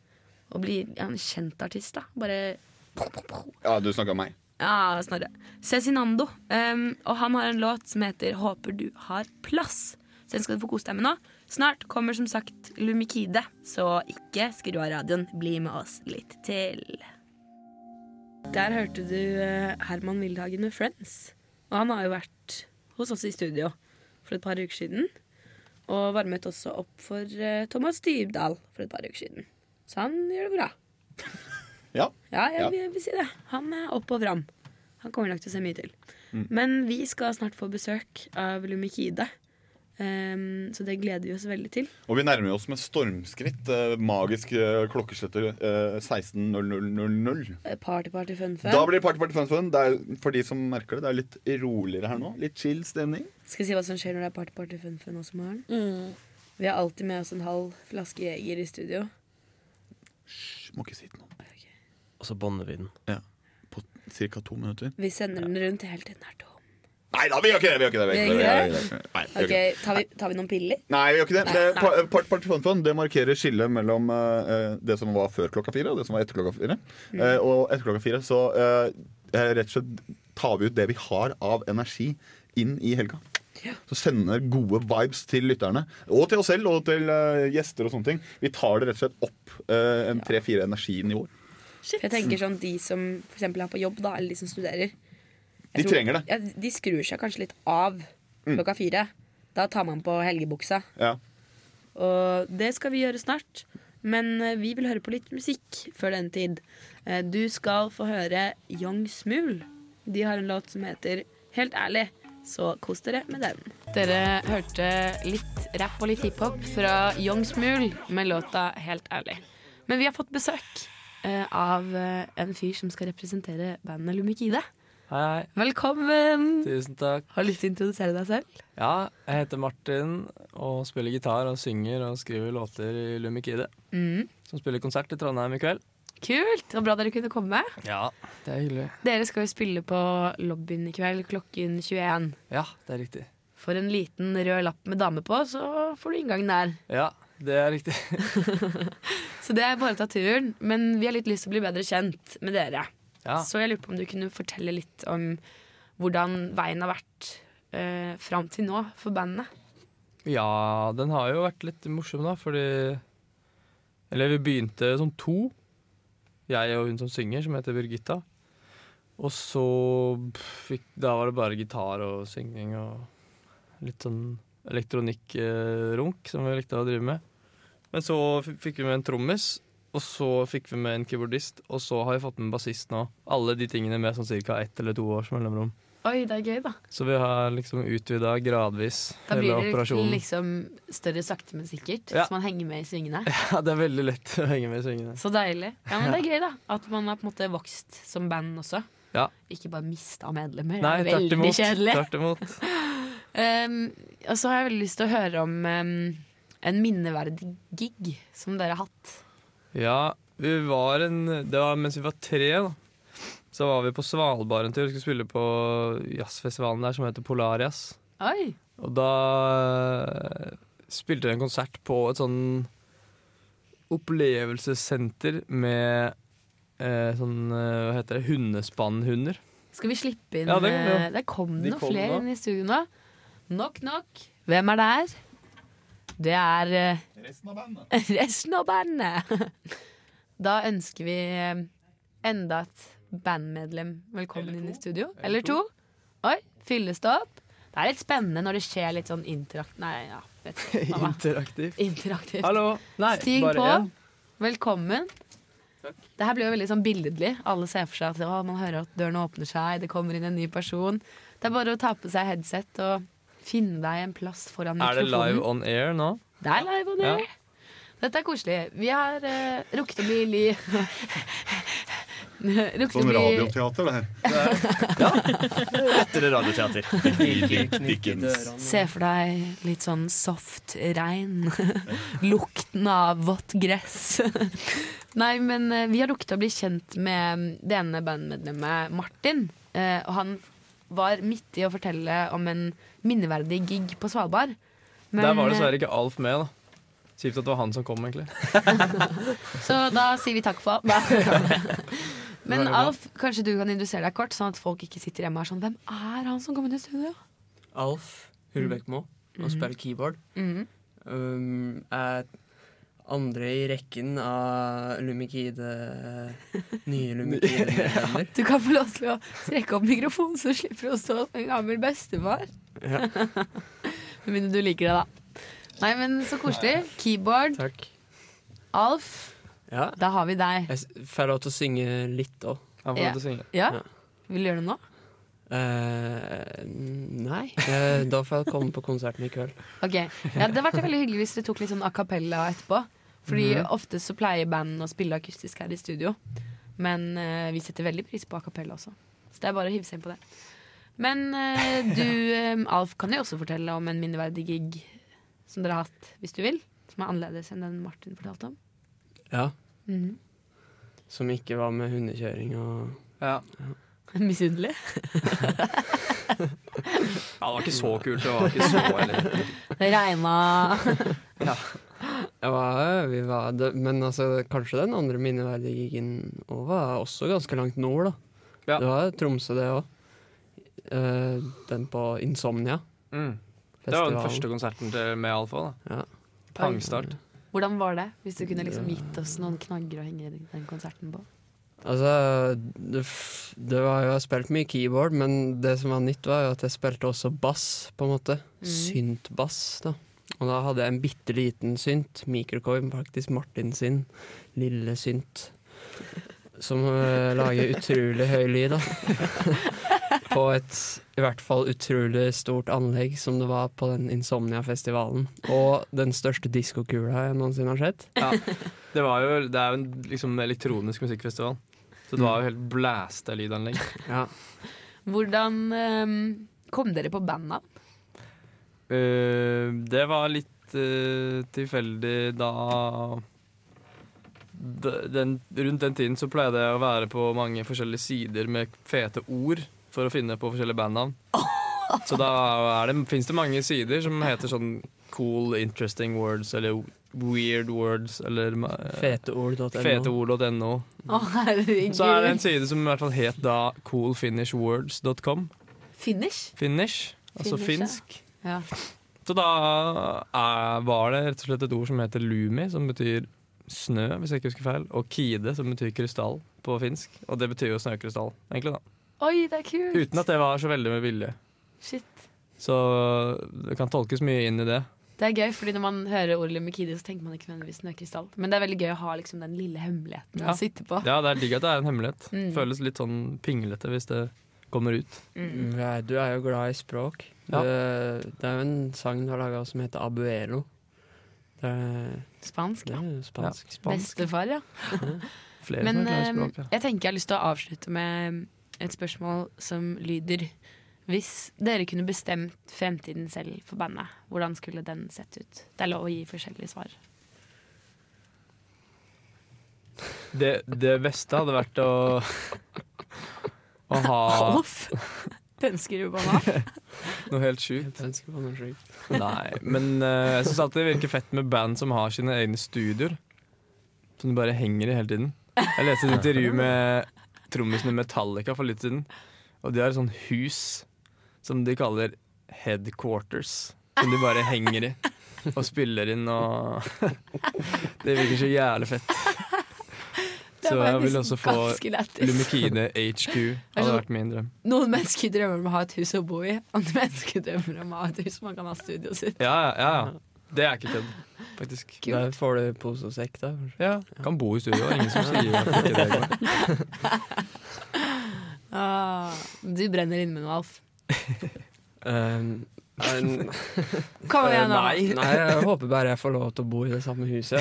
å bli ja, en kjent artist, da. Bare
Ja, du snakka om meg.
Ja, Snorre. Cezinando. Um, og han har en låt som heter 'Håper du har plass'. Så den skal du få kose deg med nå. Snart kommer som sagt Lumikide, så ikke skru av radioen. Bli med oss litt til. Der hørte du eh, Herman Wildhagen med 'Friends'. Og han har jo vært hos oss i studio for et par uker siden. Og varmet også opp for eh, Thomas Dybdahl for et par uker siden. Så han gjør det bra.
Ja.
Ja, jeg
Ja.
vil, vil si det. Han er opp og fram. Han kommer nok til å se mye til.
Mm.
Men vi skal snart få besøk av Lumikide, Ehm, så det gleder vi oss veldig til.
Og vi nærmer oss med stormskritt. eh, Magisk eh, klokkeslette eh, 16.00.00.
Eh, Party, party, fun, fun.
Da blir det party, party, fun, fun. Det er, for de som merker det, det er litt roligere her nå. Litt chill stemning.
Skal jeg si hva som skjer når det er party, party, fun, fun også, Maren? Vi har alltid med oss en halv flaske Jeger i studio.
Må ikke si det nå.
Og så bånder vi den.
Ja. På ca. to minutter.
Vi sender den rundt helt til den er tom.
Nei da, vi gjør ikke det! Vi gjør ikke det. Vi gjør ikke
Vi gjør ikke Ok,
det. Nei, vi gjør ikke det.
tar vi, tar vi noen piller?
Nei, vi gjør ikke det.
Nei,
det
nei.
pa- party, party, fun, fun, det markerer skillet mellom eh, eh, det som var før klokka fire, og det som var etter klokka fire.
Mm.
Eh, og etter klokka fire så eh, eh, rett og slett tar vi ut det vi har av energi inn i helga. Så sender gode vibes til lytterne. Og til oss selv og til eh, gjester og sånne ting. Vi tar det rett og slett opp eh, en tre-fire energinivåer.
For jeg tenker sånn De som for eksempel er på jobb, da, eller de som studerer
De trenger det.
Ja, de skrur seg kanskje litt av
Mm.
klokka fire. Da tar man på helgebuksa.
Ja.
Og det skal vi gjøre snart. Men eh, vi vil høre på litt musikk før den tid. Eh, Du skal få høre Young Smul. De har en låt som heter Helt ærlig. Så kos dere med den.
Dere hørte litt rapp og litt hiphop
fra Young Smul med låta Helt ærlig. Men vi har fått besøk eh, av eh, en fyr som skal representere bandet Lumikide.
Hei, hei.
Velkommen!
Tusen takk.
Har du lyst til å introdusere deg selv?
Ja, jeg heter Martin og spiller gitar og synger og skriver låter i Lumikide.
Mm.
Som spiller konsert i Trondheim i kveld.
Kult! Det var bra dere kunne komme.
Ja, det er hyggelig.
Dere skal jo spille på lobbyen i kveld klokken 21.
Ja, det er riktig.
For en liten rød lapp med dame på, så får du inngangen der.
Ja, det er riktig.
Så det er bare å ta turen. Men vi har litt lyst til å bli bedre kjent med dere.
Ja.
Så jeg lurer på om du kunne fortelle litt om hvordan veien har vært eh, fram til nå for bandet.
Ja, den har jo vært litt morsom, da, fordi Eller vi begynte som to. Jeg og hun som synger, som heter Birgitta. Og så fikk Da var det bare gitar og synging og litt sånn elektronikkrunk som vi likte å drive med. Men så f- fikk vi med en trommis, og så fikk vi med en keyboardist, og så har vi fått med en bassist nå. Alle de tingene med sånn ca. ett eller to års mellomrom.
Oi, det er gøy, da.
Så vi har liksom utvida gradvis
Da
hele
blir det
operasjonen.
liksom større sakte, men sikkert.
Ja.
Så man henger med i svingene.
Ja, det er veldig lett å henge med i svingene.
Så deilig. Ja, men det er gøy, da. At man har på en måte vokst som band også.
Ja.
Ikke bare mista medlemmer.
Nei,
det er
tvert
veldig
imot.
kjedelig.
Tvert imot.
Um, og så har jeg veldig lyst til å høre om um, en minneverdig gig som dere har hatt.
Ja, vi var en Det var mens vi var tre, da. Så var vi på Svalbard en tur og skulle spille på jazzfestivalen der som heter Polarias.
Oi!
Og da eh, spilte vi en konsert på et sånn opplevelsessenter med eh, sånn eh, Hva heter det? Hundespannhunder.
Skal vi slippe inn
Ja, det kan vi jo.
eh, Der kom det
De
noen
kom
flere
da.
inn i studio nå. Knock, knock. Hvem er der? Det er eh,
Resten av bandet.
resten av bandet. da ønsker vi eh, enda et bandmedlem velkommen inn i studio. Eller,
Eller
to.
to.
Oi, fylles det opp? Det er litt spennende når det skjer litt sånn interakt... Nei, ja. Vet ikke, mamma.
Interaktiv.
Interaktivt.
Hallo. Nei,
Stig
bare
på.
en.
Velkommen. Det her blir jo veldig sånn billedlig. Alle ser for seg at å, man hører at dørene åpner seg, det kommer inn en ny person. Det er bare å ta på seg headset og finne deg en plass foran
Er det
mikrofonen.
live on air nå?
Det er live on air.
Ja.
Dette er koselig. Vi har eh, rukket å bli li... rukket å
Sånn
bli
radioteater, det her. Ja.
Lettere radioteater.
Dickens.
Se for deg litt sånn soft regn. Lukten av vått gress. Nei, men eh, vi har rukket å bli kjent med det ene bandmedlemmet, Martin. Eh, Og han var midt i å fortelle om en minneverdig gig på Svalbard. Men,
Der var dessverre ikke Alf med, da. Kjipt at det var han som kom, egentlig.
eh, Så da sier vi takk for alt. Men
Veldig bra.
Alf, kanskje du kan introdusere deg kort, sånn at folk ikke sitter hjemme og er sånn Hvem er han som kom inn i studio?
Alf Hullbekkmo
Mhm.
og spiller keyboard.
Mhm.
Um, er andre i rekken av Lumikide Nye Lumikide-medlemmer.
Du kan få lov til å strekke opp mikrofonen, så slipper du å stå som en gammel bestefar.
Ja.
Med mindre du liker det, da. Nei, men så koselig. Keyboard.
Takk.
Alf,
Ja.
da har vi deg.
Jeg får lov til å synge litt òg.
Han
får lov til å synge. Ja. Vil du gjøre det nå?
Eh, nei. Eh, da får jeg komme på konserten i kveld.
Ok, ja, Det hadde vært veldig hyggelig hvis dere tok litt sånn a cappella etterpå. Fordi
Mhm.
ofte så pleier banden å spille akustisk her i studio. Men eh, vi setter veldig pris på a cappella også. Så det er bare å hive seg inn på det. Men eh, du, eh, Alf, kan jo også fortelle om en minneverdig gig som dere har hatt, hvis du vil. Som er annerledes enn den Martin fortalte om.
Ja.
Mhm.
Som ikke var med hundekjøring og
Ja.
Misunnelig?
Ja, det var ikke så kult. Det var ikke så eller.
Det regna
Ja. Jeg var, vi var det, men altså, kanskje den andre minneverdige gigen også var også ganske langt nord, da. Det var Tromsø, det òg. den Eh, på Insomnia.
Mm. Det var den første konserten til, med Alfa. da Pangstart.
Hvordan var det? Hvis du kunne liksom gitt oss noen knagger å henge den konserten på.
Altså, det, f- det var jo Jeg har spilt mye keyboard, men det som var nytt, var jo at jeg spilte også bass, på en måte.
Mm.
Synt-bass, da. Og da hadde jeg en bitte liten synt, mikrokorm, faktisk Martin sin lille synt, som øh, lager utrolig høy lyd, da. på et i hvert fall utrolig stort anlegg som det var på den Insomnia-festivalen. Og den største diskokula jeg noensinne har sett.
Ja. Det, var jo, det er jo en liksom, elektronisk musikkfestival, så det var jo helt blæsta lydanlegg.
Hvordan ehm, kom dere på bandet?
Eh, det var litt eh, tilfeldig da d- den, Rundt den tiden så pleide jeg å være på mange forskjellige sider med fete ord for å finne på forskjellige bandnavn. Så da fins det mange sider som heter sånn cool, interesting words eller weird words eller eh,
Feteord.no.
feteord.no.
Å, herregud.
Så er det en side som i hvert fall het da coolfinishwords.com.
Finish?
Finish, altså
Finish, ja.
finsk.
Ja.
Så da er, var det rett og slett et ord som heter lumi, som betyr snø, hvis jeg ikke husker feil, og kide, som betyr krystall på finsk. Og det betyr jo snøkrystall, egentlig, da.
Oi, det er kult!
Uten at det var så veldig med vilje.
Shit.
Så det kan tolkes mye inn i det.
Det er gøy, fordi når man hører ordet Lemikidi, så tenker man ikke nødvendigvis snøkrystall. Men det er veldig gøy å ha liksom, den lille hemmeligheten å sitte på.
Ja, det er digg at det er en hemmelighet.
Mm.
Føles litt sånn pinglete hvis det kommer ut.
Mm.
Nei, Du er jo glad i språk.
Ja.
Du, det er jo en sang du har laga som heter 'Abuelo'. Det er,
Spansk,
ja. Spansk.
Bestefar, ja.
Flere
Men
som er glad i
eh,
språk, ja.
jeg tenker jeg har lyst til å avslutte med eh, et spørsmål som lyder Hvis dere kunne bestemt fremtiden selv for bandet, hvordan skulle den sett ut? Det er lov å gi forskjellige svar.
Det, det beste hadde vært å å ha
Alf? Pønsker du på meg?
noe helt sjukt.
Ønsker på noe slikt.
Nei, men eh, jeg syns alltid det virker fett med band som har sine egne studioer. Som du bare henger i hele tiden. Jeg leste et intervju med trommisen i Metallica for litt siden. Og de har et sånt hus som de kaller headquarters. Som de bare henger i og spiller inn og Det virker så jævlig fett.
Det
Så
var
jeg vil
liksom
også få
ganske lættis. Altså,
Lumikine HQ. Hadde vært min drøm.
Noen mennesker drømmer om å ha et hus å bo i, andre mennesker drømmer om å ha et hus man kan ha studioet sitt.
Ja, ja, ja, ja. Det er ikke kødd, faktisk.
Der får du pose og sekk, da. kanskje.
Ja, kan bo i studio. Ingen som sier at ikke det går.
Ah, du brenner inne med noe, Alf.
Um, en-
Kom igjen,
Eh,
da.
Nei. nei, jeg håper bare jeg får lov til å bo i det samme huset.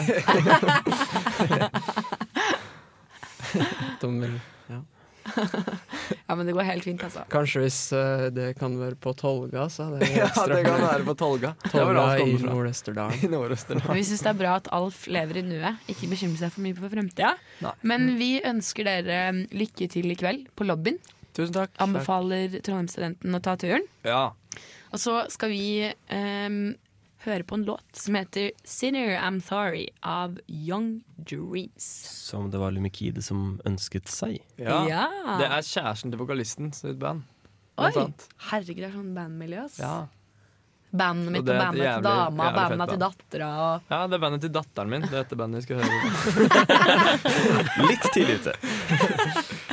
Dummel. Ja.
Ja, men det går helt fint, altså.
Kanskje hvis eh, det kan være på Tolga, så hadde jeg
Ja, det kan være på Tolga. Det var
Tolga
Alf
i
kommer fra.
Nord-Østerdalen.
I Nord-Østerdalen.
Vi syns det er bra at Alf lever i nuet, ikke bekymrer seg for mye for fremtida. Men
Mm.
vi ønsker dere um, lykke til i kveld på lobbyen.
Tusen takk.
Anbefaler Trondheimsstudenten å ta turen.
Ja.
Og så skal vi ehm, høre på en låt som heter 'Sinner I'm Sorry' av Young Dreams.
Som det var Lumikide som ønsket seg.
Ja.
Ja.
Det er kjæresten til vokalisten sitt band.
Oi!
Blant annet.
Herregud, det er sånn bandmiljø, ass.
Ja.
Bandet mitt og
Og det er et
bandet til
jævlig-
dama,
jævlig
bandet
fett
til
band.
dattera og
ja, det er bandet til datteren min. Det er dette bandet vi skal høre.
Litt tidlig ute.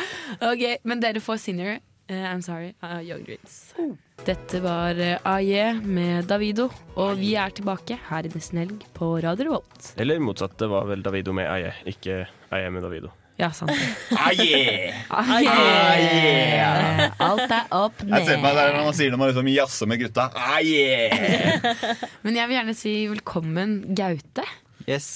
Ok, men dere får Sinner. eh, I'm sorry. av Young Dreams.
Oh.
Dette var eh, AJ med Davido, og vi er tilbake her i Nesten Helg på Radio Revolt.
Eller motsatt, det var vel Davido med Aye, ikke Aye med Davido.
Ja, sant.
Ah,
Eh.
yeah!
AJ!
Ah, yeah!
Alt er opp
Jeg ser på meg
ned.
der når man sier det, man liksom jazzer med gutta. Ah, yeah!
Men jeg vil gjerne si velkommen, Gaute.
Yes.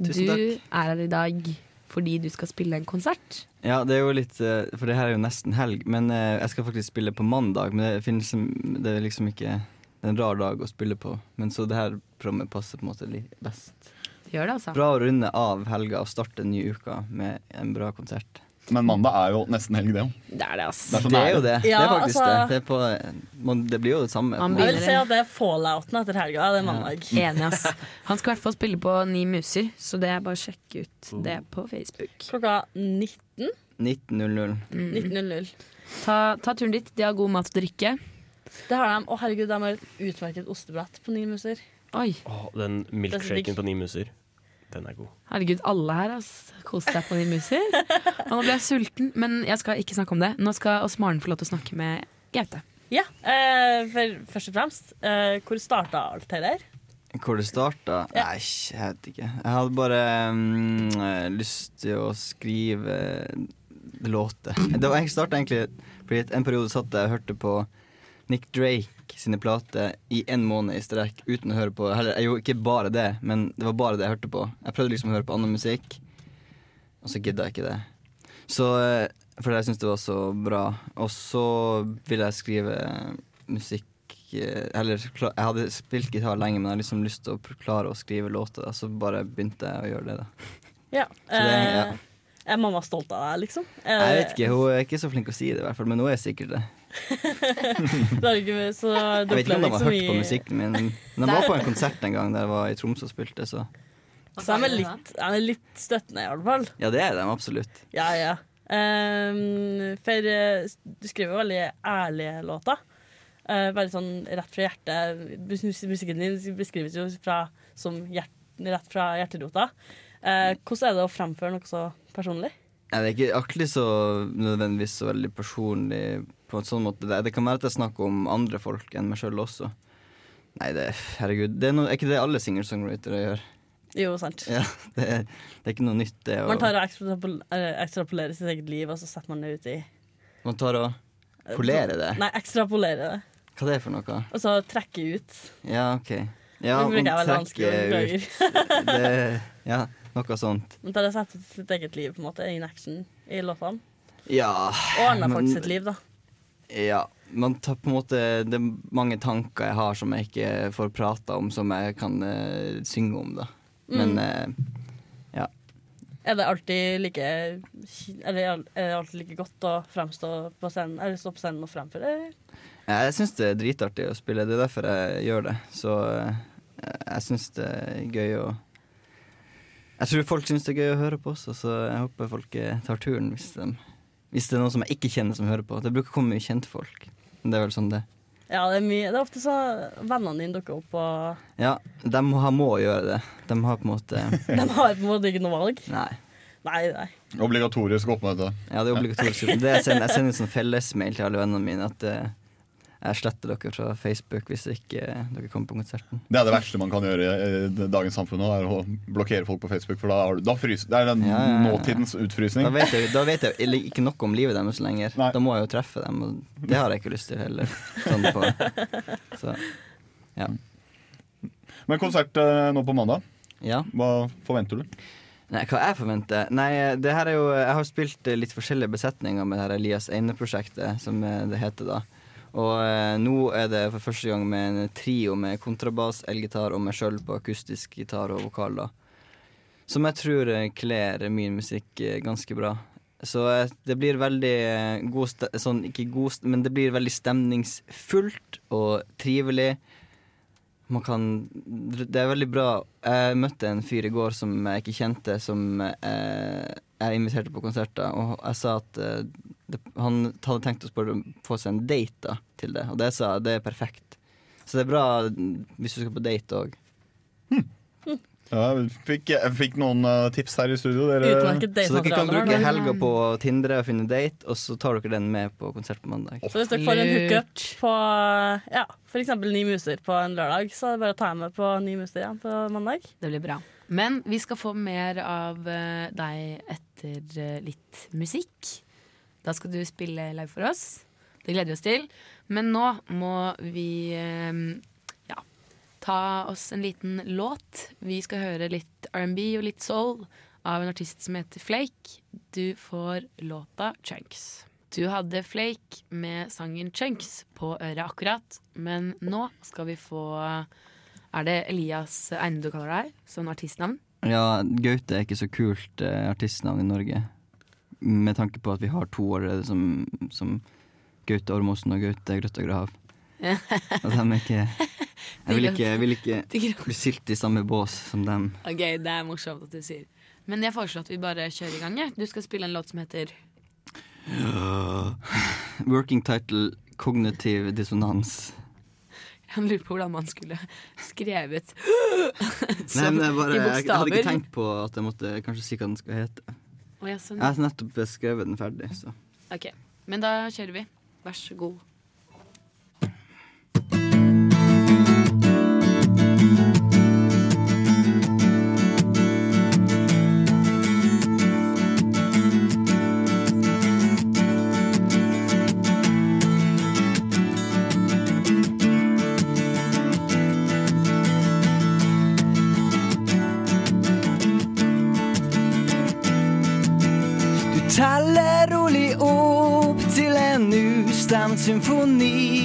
Du
Tusen
er
takk.
her i dag fordi du skal spille en konsert.
Ja, det er jo litt eh, For det her er jo nesten helg, men eh, jeg skal faktisk spille på mandag. Men det, finnes, som- det er liksom ikke det er en rar dag å spille på. Men så det her programmet passer på en måte li- best.
Du gjør det, altså.
Bra å runde av helga og starte den nye uka med en bra konsert.
Men mandag er jo nesten helg, det òg.
Det er det, ass.
Det er så
Det er jo
nære.
det. det
Ja,
er faktisk
altså-
det. Det, er på, eh, man, det blir jo det samme. på en
Jeg
måte.
vil si at det er fallouten etter helga. Det er mandag.
Enig, ass. Han skal i hvert fall spille på Ni muser, så det er bare å sjekke ut
Oh.
det på Facebook. Mm.
Klokka 19.
19.00.
19.00.
Ta, ta turen dit. De har god mat og drikke.
Det har de. Å, herregud, de har et utmerket ostebrett på Ni Muser.
Oi.
Å, den
Det er så
milkshaken
digg.
på ni muser. Den er god.
Herregud, alle her altså, koser seg på de muser. Og nå ble jeg sulten, men jeg skal ikke snakke om det. Nå skal oss Maren få lov til å snakke med Gaute.
Ja, eh, for, først og fremst, eh, hvor starta alt det der?
Hvor det starta? Nei, jeg vet ikke. Jeg hadde bare mm, eh, lyst til å skrive låter. Det var Jeg starta egentlig fordi at en periode satt jeg og hørte på Nick Drake sine plater i en måned i strekk uten å høre på heller, Jeg gjorde ikke bare det, men det var bare det jeg hørte på. Jeg prøvde liksom å høre på annen musikk, og så gidda jeg ikke det. Så eh, Fordi jeg syntes det var så bra. Og så ville jeg skrive musikk eh, Eller kla- jeg hadde spilt gitar lenge, men jeg hadde liksom lyst til å pr- klare å skrive låter. da, Så bare begynte jeg å gjøre det, da.
Ja.
Så det- ja.
Eh, er mamma stolt av deg, liksom? Eh,
Jeg vet ikke, Hun er ikke så flink å si det, i hvert fall, men hun er sikkert det.
det er ikke- så liksom du
Jeg vet ikke
opplever
om de har
så
hørt på
mye-
musikken min. De var på en konsert en gang der jeg var i Tromsø og spilte, så
Så de er litt, de er litt støttende, i hvert fall.
ja, det er de absolutt.
Ja, ja. Ehm, for eh, du skriver jo veldig ærlige låter. Eh, bare sånn rett fra hjertet. Mus- Musikken din beskrives jo fra, som hjert, rett fra hjerterota. Eh, hvordan er det å fremføre noe så personlig?
Ja, det er ikke akkurat så nødvendigvis så veldig personlig på en sånn måte. Det, det kan være at jeg snakker om andre folk enn meg sjøl også. Nei, det, herregud. Det er, noe, er ikke det alle singer-songwritere gjør?
Jo, sant.
Ja, det, er, det er ikke noe nytt, det. å-
Man tar og ekstrapol- eh, ekstrapolerer sitt eget liv, og så setter man det ut i eh,
man tar og polerer det.
Nei, ekstrapolerer det.
Hva det er for noe?
Og så trekke ut.
Ja, OK. Ja,
Nå bruker
man
jeg veldig vanskelige
trekker
ord,
ut
beklager.
det, Ja, noe sånt.
Man tar og setter ut sitt eget liv på en måte, in action i låtene.
Ja.
Og andre folk
men-
sitt liv, da.
Ja. Man tar på en måte Det er mange tanker jeg har som jeg ikke får prata om, som jeg kan eh, synge om, da.
Mm.
Men eh, ja.
Er det alltid like Er det, al- er det alltid like godt å fremstå på scenen Eller stå på scenen og fremføre? eller?
Jeg syns det er dritartig å spille, det er derfor jeg gjør det. Så eh, jeg syns det er gøy å Jeg tror folk syns det er gøy å høre på også, så jeg håper folk eh, tar turen hvis, de, hvis det er noen som jeg ikke kjenner som hører på. Det bruker å komme mye kjente folk. Men Det er vel sånn det.
Ja, det er mye Det er ofte så vennene dine dukker opp, og
Ja, de må, må gjøre det. De har på en måte
de har på en måte ikke noe valg.
Nei.
Nei, nei.
Obligatorisk oppmøte. Ja, det er obligatorisk. oppmøte. Det jeg, sender, jeg sender en sånn fellesmail til alle vennene mine at eh, jeg sletter dere fra Facebook hvis ikke eh, dere kommer på konserten.
Det er det verste man kan gjøre i eh, dagens samfunn nå, er å blokkere folk på Facebook. For da, har du- da fryser Det er den
Ja, ja, ja.
nåtidens utfrysning.
Da vet jeg, da vet jeg eller ikke nok om livet deres lenger. Da må jeg jo treffe dem, og det har jeg ikke lyst til heller. Sånn på. Så, ja.
Men konsert eh, nå på mandag.
ja.
Hva forventer du?
Nei, hva jeg forventer? Nei, det her er jo Jeg har spilt eh, litt forskjellige besetninger med det her Elias Eine-prosjektet, som eh, det heter da. Og eh, nå er det for første gang med en trio med kontrabass, elgitar og meg sjøl på akustisk gitar og vokal, da. Som jeg tror eh, kler min musikk eh, ganske bra. Så eh, det blir veldig eh, god ste Sånn, ikke god st men det blir veldig stemningsfullt og trivelig man kan Det er veldig bra. Jeg møtte en fyr i går som jeg ikke kjente, som eh, jeg inviterte på konserter, og jeg sa at eh, det, han hadde tenkt å spørre, om- få seg en date da, til det, og det sa jeg det er perfekt. Så det er bra mm, hvis du skal på date òg.
Ja, jeg fikk, jeg fikk noen eh, tips her i studio. Dere,
Så dere kan bruke helga på å tindre og finne date, og så tar dere den med på konsert på mandag.
Så hvis dere får en hookup på ja, f.eks. Ni muser på en lørdag, så er det bare å ta med på Ni muser igjen på mandag.
Det blir bra. Men vi skal få mer av eh, deg etter eh, litt musikk. Da skal du spille live for oss. Det gleder vi oss til. Men nå må vi eh, ja, ta oss en liten låt. Vi skal høre litt R&B og litt soul av en artist som heter Flake. Du får låta Chunks. Du hadde Flake med sangen Chunks på øret akkurat, men nå skal vi få er det Elias Eine du kaller deg, som artistnavn?
Ja, Gaute er ikke så kult eh, artistnavn i Norge. Med tanke på at vi har to allerede som, som Gaute Ormåsen og Gaute Grøtta Grav. Og dem er ikke Jeg vil ikke, jeg vil ikke bli silt i samme bås som dem.
Ok, det er morsomt at du sier. Men jeg foreslår at vi bare kjører i gang. jeg. Du skal spille en låt som heter
Working title Kognitiv dissonans.
Han lurer på hvordan man skulle skrevet
Nei,
sånn
men jeg, bare,
i
jeg, jeg hadde
bokstaver.
ikke tenkt på at jeg måtte kanskje si hva den skal hete.
Å, ja, sånn.
Jeg har nettopp skrevet den ferdig, så
Ok, Men da kjører vi. Vær så god.
Du teller rolig opp til en ustemt symfoni.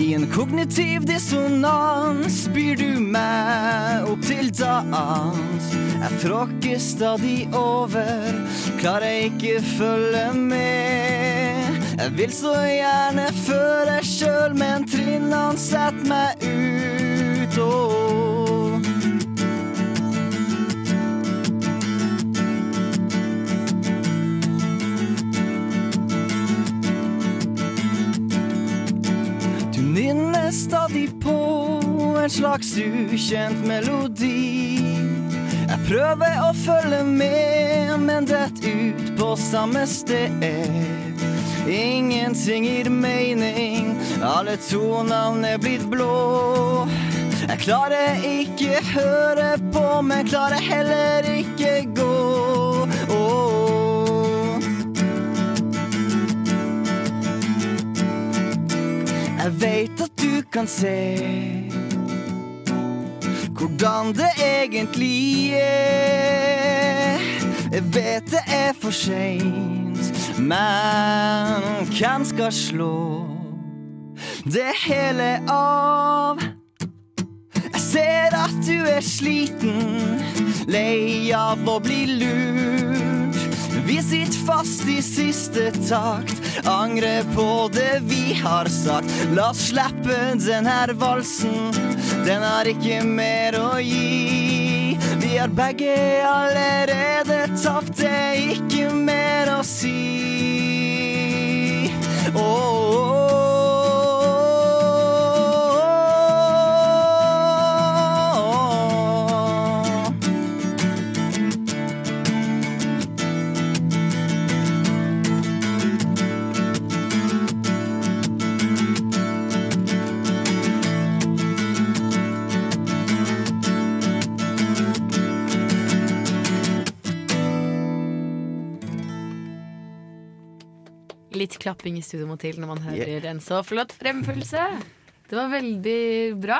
I en kognitiv dissonans byr du meg opp til dans. Jeg tråkker stadig over, klarer ikke følge med. Jeg vil så gjerne føre sjøl, men trinnene setter meg ut. Åh. Du nynner stadig på en slags ukjent melodi. Jeg prøver å følge med, men dett ut på samme sted. Ingenting gir mening, alle tonene er blitt blå. Jeg klarer ikke høre på, men klarer heller ikke gå. Åh. Jeg veit at du kan se hvordan det egentlig er. Jeg vet det er for seint, men hvem skal slå det hele av? Jeg ser at du er sliten, lei av å bli lurt. Vi sitter fast i siste takt, angrer på det vi har sagt. La oss slippe den her valsen, den har ikke mer å gi. Vi har begge allerede tapt, det er ikke mer å si. Åh,
Litt klapping i studio må til når man hører en så flott fremførelse. Det var veldig bra.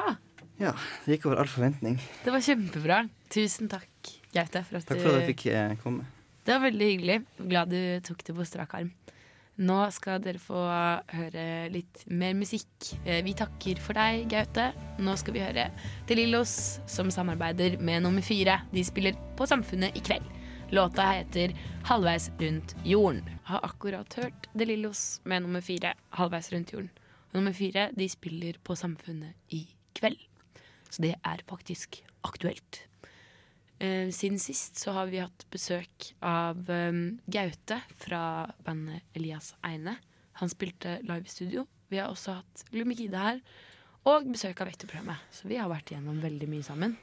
Ja, det gikk over all forventning.
Det var kjempebra. Tusen takk, Gaute. For at
Takk for at jeg
du-
fikk eh, komme.
Det var veldig hyggelig. Glad du tok det på strak arm. Nå skal dere få høre litt mer musikk. Eh, Vi takker for deg, Gaute. Nå skal vi høre til Lillos, som samarbeider med nummer fire. De spiller på Samfunnet i kveld. Låta heter 'Halvveis rundt jorden'. Har akkurat hørt De Lillos med nummer fire, 'Halvveis rundt jorden'. Og nummer fire, de spiller på Samfunnet i kveld. Så det er faktisk aktuelt. Eh, siden sist så har vi hatt besøk av eh, Gaute fra bandet Elias Eine. Han spilte live i studio. Vi har også hatt Lumikida her. Og besøk av Vekterprogrammet. Så vi har vært igjennom veldig mye sammen.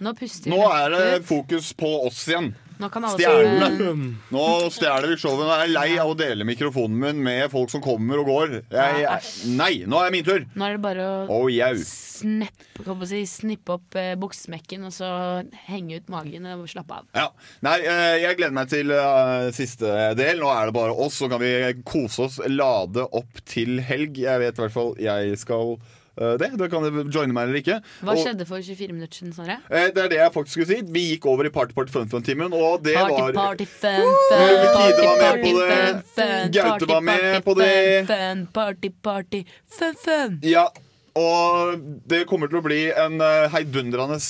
Nå puster
Nå er det
Gaute ut.
fokus på oss igjen.
Nå kan alle eh,
Stjernene.
som,
Mm.
Nå stjeler vi showet. Nå er jeg lei av å dele mikrofonen min med folk som kommer og går. Jeg, nei, nå er det min tur.
eh, Nå er det bare å
Oh, jau.
snepp, hva må jeg si, snippe opp eh, buksesmekken og så henge ut magen og slappe av.
Ja. Nei, eh, jeg gleder meg til eh, siste del. Nå er det bare oss, så kan vi kose oss, lade opp til helg. Jeg vet i hvert fall jeg skal eh, det. Da kan dere joine meg eller ikke.
Hva
Og-
skjedde for 24 minutter siden, Snorre?
Eh, Det er det jeg faktisk skulle si. Vi gikk over i Party Party Fun Fun-timen, og det
Party,
var
party, fun,
Woo!
fun,
Kide var med
party,
på det.
fun, fun,
Gaute
party,
var med
party,
på det.
Fun, fun, party, party, fun, fun.
Ja, og det kommer til å bli en eh, heidundrende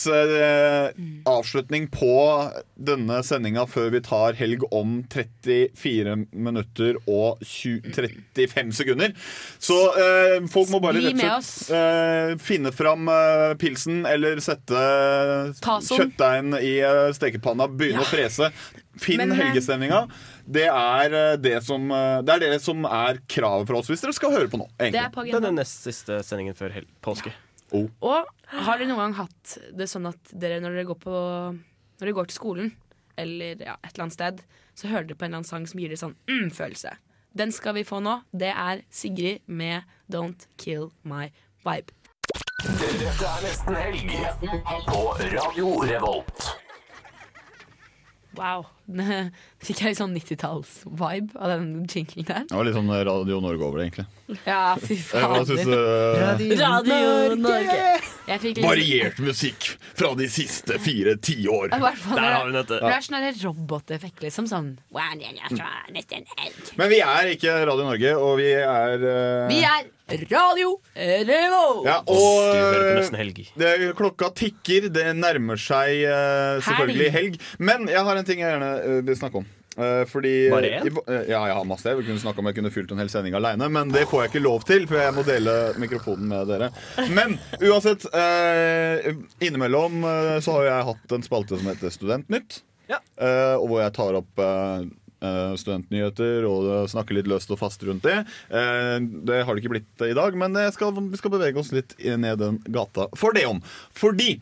eh, avslutning på denne sendinga før vi tar helg om 34 minutter og 20, 35 sekunder. Så eh, folk må bare
Bli
rett og
med
slett
oss.
eh, finne fram eh, pilsen eller sette
Tasoen.
kjøttdeigen i eh, stekepanna, begynne å frese. Finn
Men, eh,
helgestemninga. Det er eh, det som eh, Det er det som er kravet fra oss hvis dere skal høre på nå.
Det er på
Egentlig.
agendaen. Den er
nest siste sendingen før påske.
Oh.
Og har dere noen gang hatt det sånn at dere når dere går, på, når dere går til skolen, eller ja, et eller annet sted, så hører dere på en eller annen sang som gir dere sånn mm-følelse? Den skal vi få nå. Det er Sigrid med 'Don't Kill My Vibe'.
Dette er nesten helg på Radio Revolt.
Wow. Den- Fikk jeg litt sånn 90-talls-vibe av den jinglen der?
Det var litt sånn Radio Norge over det, egentlig.
Ja, fy
Eh, hva synes du, eh,
Radio Norge! Jeg fikk litt-
Variert musikk fra de siste fire tiår.
Ja, i hvert fall, det- Det
Ja.
er sånn der roboteffekt, liksom. Sånn «Wow, jeg er fra nesten helg».
Men vi er ikke Radio Norge, og vi er eh,
Vi er Radio Revolt!
Ja, og eh,
Du hører på nesten helg.
Det, klokka tikker, det nærmer seg eh, selvfølgelig helg. Men jeg har en ting jeg gjerne eh, vil snakke om. Eh, fordi
Bare en?
i vo- eh, ja, jeg har masse. Jeg kunne snakke om jeg kunne fylt en hel sending aleine, men det får jeg ikke lov til, for jeg må dele mikrofonen med dere. Men uansett, eh, innimellom eh, så har jeg hatt en spalte som heter Studentnytt. Eh, og hvor jeg tar opp eh, eh, studentnyheter og eh, snakker litt løst og fast rundt det. Eh, det har det ikke blitt eh, i dag, men jeg skal, vi skal bevege oss litt ned den gata for det om. Fordi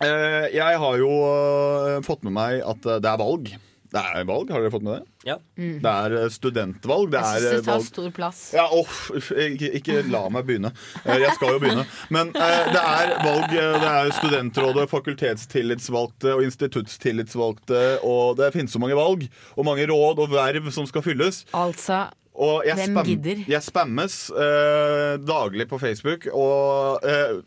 eh, jeg har jo eh, fått med meg at eh, det er valg. Det er valg, har dere fått med det?
Ja.
Mm.
Det er eh, studentvalg. Det
Jeg
er
syns det
eh,
tar
valg
stor plass.
ja, åh, uff, ikke, ikke la meg begynne. Eh, Jeg skal jo begynne. Men eh, det er valg. eh, Det er studentrådet, fakultetstillitsvalgte og instituttstillitsvalgte. Og det finnes så mange valg og mange råd og verv som skal fylles.
Altså
Og jeg
Hvem
spam,
gidder?
Jeg spammes eh, daglig på Facebook, og eh,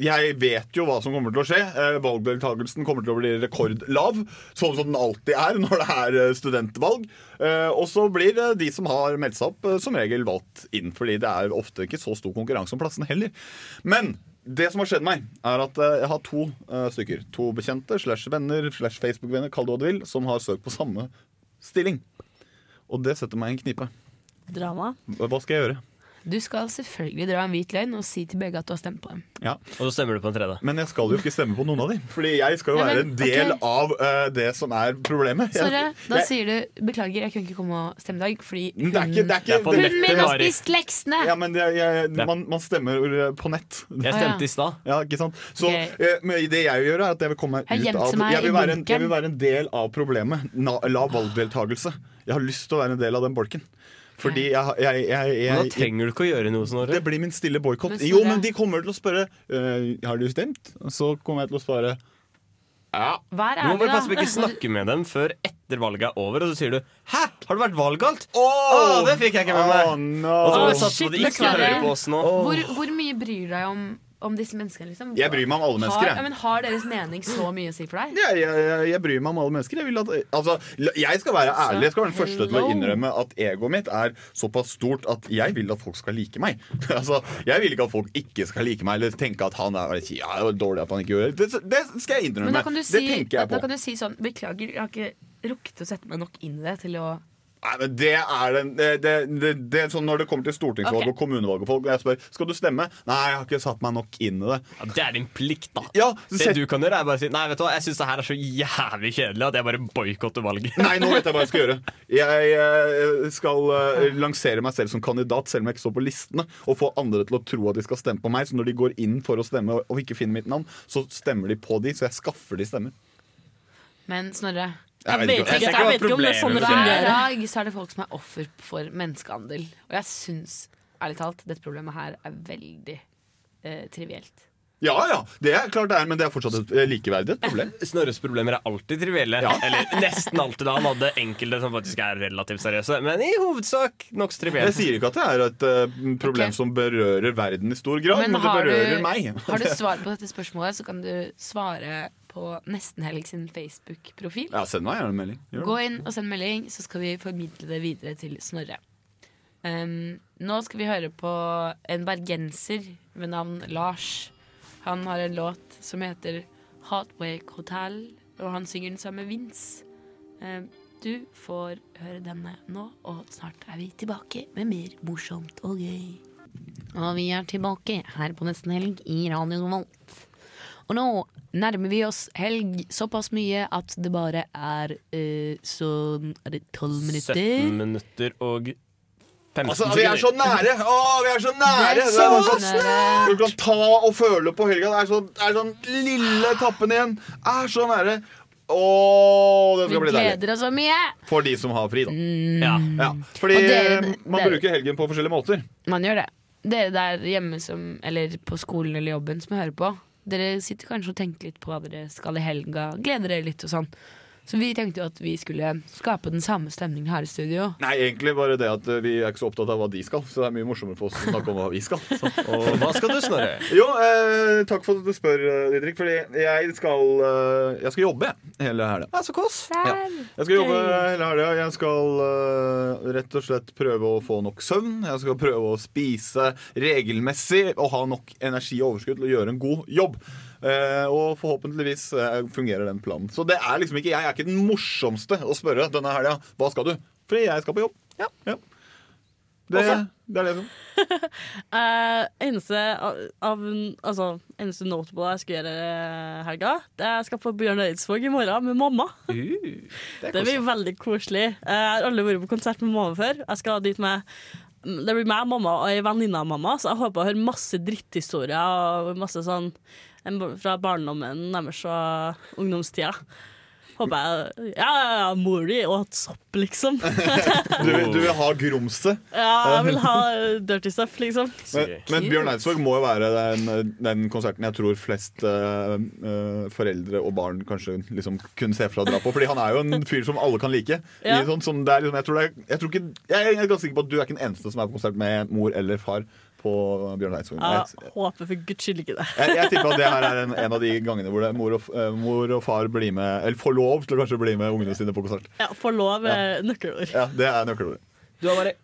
jeg vet jo hva som kommer til å skje. Eh, valgdeltakelsen kommer til å bli rekordlav, sånn som den alltid er når det er eh, studentvalg. Eh, og så blir eh, de som har meldt seg opp, eh, som regel valgt inn, fordi det er ofte ikke så stor konkurranse om plassene heller. Men det som har skjedd meg, er at eh, jeg har to eh, stykker. To bekjente slash venner slash Facebook-venner, kall det hva du vil, som har søkt på samme stilling. Og det setter meg i en knipe.
Drama.
Hva skal jeg gjøre?
Du skal selvfølgelig dra en hvit løgn og si til begge at du har stemt på dem.
Og så stemmer du på en tredje. Men jeg skal jo ikke stemme på noen av dem. Fordi jeg skal jo
Nei,
være
men,
en del
ok.
av eh, det som er problemet. Jeg-
Snorre, da
jeg-
sier du 'beklager, jeg kunne ikke komme og stemme i dag', fordi
Men det er ikke- det er
hun
ikke- det er på
min har
nettet, Mari.
spist leksene!
ja, men jeg, jeg, man, man stemmer eh, på nett.
Jeg stemte i
stad.
Ja, ikke sant? Så eh, men det jeg vil gjøre, er at jeg vil komme meg
Jeg
ut
gjemte
av
meg
jeg vil,
i
være en, jeg
bunkeren.
vil være en del av problemet. Na, la valgdeltakelse. Jeg har lyst til å være en del av den bolken. Fordi jeg, jeg, jeg, jeg
Men da trenger du ikke å gjøre noe, Snorre.
Det blir min stille boikott.
Men Snorre-
Jo, men de kommer til å spørre eh, Har du stemt? Og så kommer jeg til å svare ja.
Vær
Du må
ærlig,
bare
da.
passe på ikke snakke med dem før etter valget er over, og så sier du 'hæ, har det vært valggalt?' Å,
Åh,
det fikk jeg ikke med meg!
Åh, no.
Og så må
Åh,
du satse på at de
shit,
ikke
beklager.
hører på oss nå.
Hvor, hvor mye bryr du deg om, om disse menneskene? Liksom?
Jeg bryr meg om alle mennesker, jeg.
Har, ja, men har deres mening så mye å si for deg?
Ja, jeg, jeg, jeg bryr meg om alle mennesker. Jeg, vil at, altså, la- jeg skal være ærlig. Jeg skal være den første til å
hello.
innrømme at egoet mitt er såpass stort at jeg vil at folk skal like meg. altså, jeg vil ikke at folk ikke skal like meg eller tenke at han er ja, det var dårlig at han ikke gjorde det. det. Det skal jeg
Men
innrømme.
da kan du
det
si,
tenker
da, da
jeg på.
kan du si sånn Beklager, jeg har ikke rukket å sette meg nok inn i det til å
Nei, men det er den det, det, det, det er sånn Når det kommer til stortingsvalg
Ok.
og kommunevalg og folk, og jeg spør skal du stemme Nei, jeg har ikke satt meg nok inn i det.
Ja, det er din plikt, da.
Ja,
det du kan gjøre, er bare å si 'nei, vet du hva, jeg syns det her er så jævlig kjedelig at jeg bare boikotter valget'.
Nei, nå vet jeg hva jeg skal gjøre. Jeg eh, skal eh, lansere meg selv som kandidat, selv om jeg ikke står på listene, og få andre til å tro at de skal stemme på meg. Så når de går inn for å stemme og- og ikke finner mitt navn, så stemmer de på de, så jeg skaffer de stemmer.
Men Snorre
Jeg vet ikke. Jeg ser ikke hva problemet
sånn Hver
er.
dag så er det folk som er offer for menneskehandel. Og jeg syns, ærlig talt, dette problemet her er veldig eh, trivielt.
Ja ja, det er klart det er, men det er fortsatt et eh, likeverdig et problem.
Snorres problemer er alltid trivielle. Eller nesten alltid. da Han hadde enkelte som faktisk er relativt seriøse, men i hovedsak nokså trivielle.
Jeg sier ikke at det er et eh, problem som berører verden i stor grad, men, det
har
berører
du,
meg.
har du svar på dette spørsmålet, så kan du svare på Nestenhelg sin Facebook-profil.
Ja, send meg gjerne en melding. Gjør det.
Gå inn og send melding, så skal vi formidle det videre til Snorre. Um, nå skal vi høre på en bergenser ved navn Lars. Han har en låt som heter Heartwake Hotel, og han synger den sammen med Vince. Um, du får høre denne nå, og snart er vi tilbake med mer morsomt og gøy. Og vi er tilbake her på Nesten Helg i Radio Volt. Og nå nærmer vi oss helg såpass mye at det bare er eh, sånn Er det tolv minutter?
17 minutter og 15
Altså, vi er så nære! Å, vi er så nære!
Det er
Det er
så
sånn-
nære.
Du kan ta og føle på helga. Det er sånn, det er sånn lille tappen igjen. Er så nære. Å, det
Vi
skal bli deilig.
gleder oss så mye!
For de som har fri, da.
Ja.
Fordi eh,
Og dere-
man
dere-
bruker helgen på forskjellige måter.
Man gjør det. Dere der hjemme som, eller på skolen eller jobben som jeg hører på, dere sitter kanskje og tenker litt på hva dere skal i helga, gleder dere litt og sånn. Så vi tenkte jo at vi skulle skape den samme stemningen her i studio.
Nei, egentlig bare det at eh, vi er ikke så opptatt av hva de skal. Så det er mye morsommere for oss å snakke om hva vi skal.
Og hva skal du, Snorre?
Jo, eh, takk for at du spør, eh, Didrik. Fordi jeg skal, eh, jeg skal jobbe jeg, hele helga.
Ja, så kos.
Ja. Jeg skal jobbe hele helga. Jeg skal eh, rett og slett prøve å få nok søvn. Jeg skal prøve å spise regelmessig og ha nok energi og overskudd til å gjøre en god jobb. Eh, og forhåpentligvis eh, fungerer den planen. Så det er liksom ikke, jeg er ikke den morsomste å spørre denne helga hva skal du? Fordi jeg skal på jobb. Ja. Det,
Også.
det er det som
Eh, eneste av, av altså, eneste notable jeg skal gjøre eh, helga, det er jeg skal på Bjørn Eidsvåg i morgen med mamma.
er
Det blir veldig koselig. Eh, Jeg har aldri vært på konsert med mamma før. Jeg skal dit med Det blir meg, mamma og ei venninne av mamma, så jeg håper å høre masse dritthistorier og masse sånn en- fra barndommen deres og ungdomstida. Håper jeg Ja, ja, ja, mor di åt sopp, liksom.
Du, vil- du vil ha grumse.
ja, jeg vil ha dirty stuff, liksom.
Men, men Bjørn Eidsvåg må jo være den, den konserten jeg tror flest eh, eh, foreldre og barn kanskje liksom kunne se for seg å dra på. Fordi han er jo en fyr som alle kan like.
Ja.
I sånn, som det er, liksom, jeg, tror det er, jeg, tror ikke, jeg er ganske sikker på at du er ikke den eneste som er på konsert med mor eller far på Bjørn Eidsvåg. Jeg,
Jeg håper for guds skyld ikke det.
jeg, jeg tipper at det her er en, en av de gangene hvor det, mor, og, f- eh, mor og far blir med, eller får lov til å kanskje bli med ungene sine på konsert.
Ja, Få lov eh, nøkkelord.
Ja, Det er nøkkelordet.
Du har bare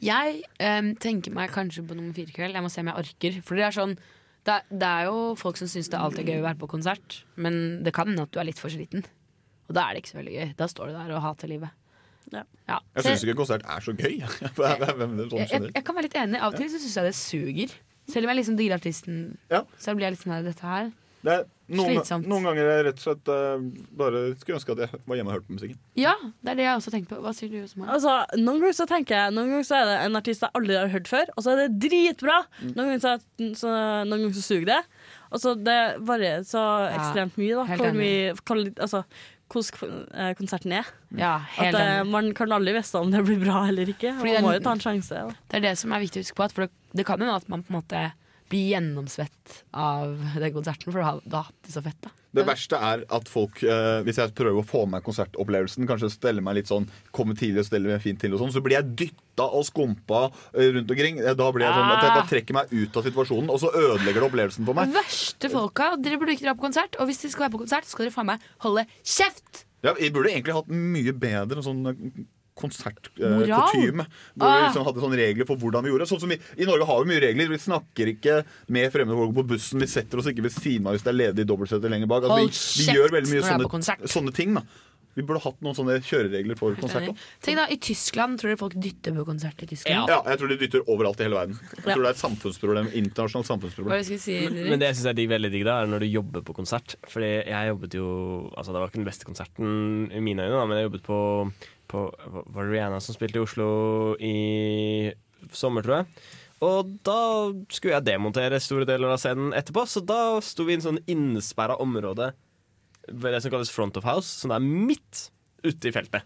Jeg em, tenker meg kanskje på nummer fire kveld. Jeg må se om jeg orker. For det er sånn det er, det er jo folk som syns det alltid er gøy å være på konsert, men det kan hende at du er litt for sliten. Og da er det ikke så veldig gøy. Da står du der og hater livet.
Ja.
Jeg syns ikke konsert er så gøy. Hvem er det sånn
jeg, jeg,
generelt?
jeg kan være litt enig. Av og til så syns jeg det suger. Selv om jeg liksom digger artisten, så blir jeg litt sånn her Dette her
Det er noen,
Slitsomt.
noen ganger jeg rett og slett eh, bare skulle ønske at jeg var hjemme og hørte på musikken.
Ja, det er det jeg også tenker på. Hva sier du også, Maren?
Altså, noen ganger så tenker jeg Noen ganger så er det en artist jeg aldri har hørt før, og så er det dritbra.
Mm.
Noen ganger så, så, noen ganger så suger det. Og så det varierer så ekstremt mye, da.
helt
Hvor
enig.
mye kvali- Altså hvordan eh, konserten er.
Ja, helt
At eh,
enig.
Man kan aldri vite om det blir bra eller ikke.
Fordi
Man må
den-
jo ta en sjanse. Da.
Det er det som er viktig å huske på. At for det, det kan hende at man på en måte blir gjennomsvett av den konserten, for du har, du har hatt det så fett. da
Det verste er at folk, eh, hvis jeg prøver å få med meg konsertopplevelsen, kanskje stelle meg litt sånn, komme tidlig og stelle meg fint til og sånn, så blir jeg dytta og skumpa eh, rundt omkring. Eh, Da blir jeg sånn at jeg bare trekker meg ut av situasjonen, og så ødelegger det opplevelsen for meg.
Verste folka. Dere burde ikke dra på konsert. Og hvis dere skal være på konsert, skal dere faen meg holde kjeft!
Ja, jeg burde egentlig hatt mye bedre sånn
Moral?
konsertkutyme. hvor vi
Ah.
liksom hadde sånne regler for hvordan vi gjorde. Sånn som vi, I Norge har vi mye regler. Vi snakker ikke med fremmede folk på bussen. Vi setter oss ikke ved siden av hvis det er ledig dobbeltsete lenger bak. Altså,
Hold
vi,
kjeft
vi gjør
når
veldig mye
du er på
sånne, sånne ting. da Vi burde hatt noen sånne kjøreregler for konsert.
Enig.
også.
Tenk da, I Tyskland tror dere folk dytter på konsert i Tyskland.
Ja, jeg tror de dytter overalt i hele verden. Jeg tror det er et samfunnsproblem.
Hva
Internasjonalt
jeg
samfunnsproblem.
skulle si, Didrik?
Men det jeg syns er digg, veldig digg, da, er når du jobber på konsert. Fordi jeg jobbet jo Altså, det var ikke den beste konserten i mine øyne, da, men jeg jobbet på, på Var det Rihanna som spilte i Oslo i sommer, tror jeg. Og da skulle jeg demontere store deler av scenen etterpå, så da sto vi i en sånn innesperra område, ved det som kalles front of house, som er midt ute i feltet.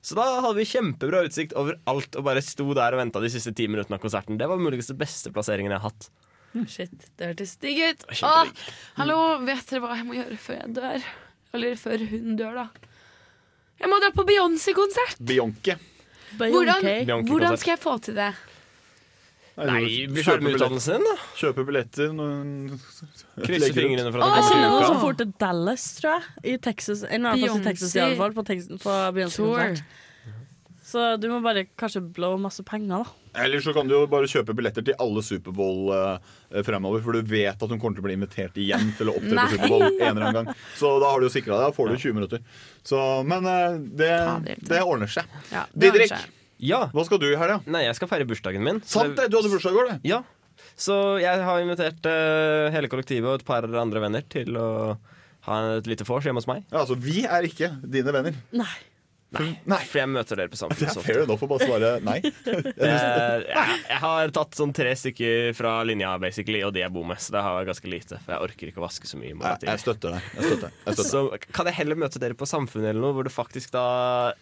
Så da hadde vi kjempebra utsikt over alt og bare sto der og venta de siste ti minuttene av konserten. Det var muligens den beste plasseringen jeg har hatt.
Hm, Shit, det hørtes digg ut.
var
Åh,
kjempedigg.
hallo, vet dere hva jeg må gjøre før jeg dør? Eller før hun dør, da. Jeg må dra på Beyoncé-konsert!
Bionke.
Hvordan,
Beyoncé-konsert.
hvordan skal jeg få til det?
Nei, bli ferdig med utdannelsen din, da.
Kjøpe billetter. noen-
Krysse
legger ut.
fingrene for at
Jeg kjenner noen som for til Dallas, tror jeg. I Texas. En eller annen plass i
Beyoncé
Texas, i alle fall. På, Tex- på Beyoncé-konsert. Så du må bare kanskje blow masse penger, da.
Eller så kan du jo bare kjøpe billetter til alle Superbowl eh, fremover, for du vet at hun kommer til å bli invitert igjen til å opptre på
Nei.
Superbowl en eller annen gang. Så da har du jo sikra deg. Da får du 20 minutter. Så, men eh, det, det ordner seg.
Ja,
Didrik,
Ja.
hva skal du i helga?
Nei, jeg skal feire bursdagen min.
Sant det, du hadde bursdag i går, du.
Ja. Så jeg har invitert eh, hele kollektivet og et par andre venner til å ha et lite vors hjemme hos meg.
Ja, altså, Vi er ikke dine venner.
Nei.
For jeg møter dere på samfunnet.
Det er fair enough å bare svare nei.
Eh, jeg, jeg har tatt sånn tre stykker fra linja, basically, og de jeg bor med. Så det har jeg ganske lite, for jeg orker ikke å vaske så mye. Jeg,
støtter deg.
Så kan jeg heller møte dere på Samfunnet eller noe, hvor det faktisk da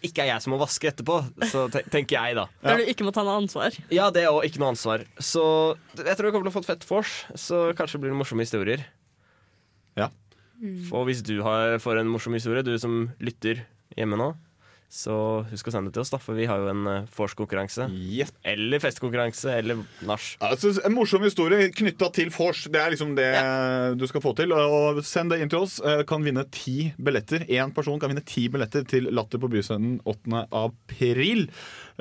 ikke er jeg som må vaske etterpå. Så te tenker jeg, da.
Der du ikke må ta noe ansvar.
Ja, det og ikke noe ansvar. Så jeg tror jeg kommer til å få et fett vors, så kanskje blir det morsomme historier.
Ja.
Mm.
Og hvis du har, får en morsom historie, du som lytter hjemme nå, så husk å sende det til oss, da, for vi har jo en eh, vors-konkurranse. Eller festkonkurranse, eller nach.
Altså, en morsom historie knytta til vors. Det er liksom det du skal få til. Og Send det inn til oss. Eh, Kan vinne ti billetter. Én person kan vinne ti billetter til Latter på Byscenen 8. april.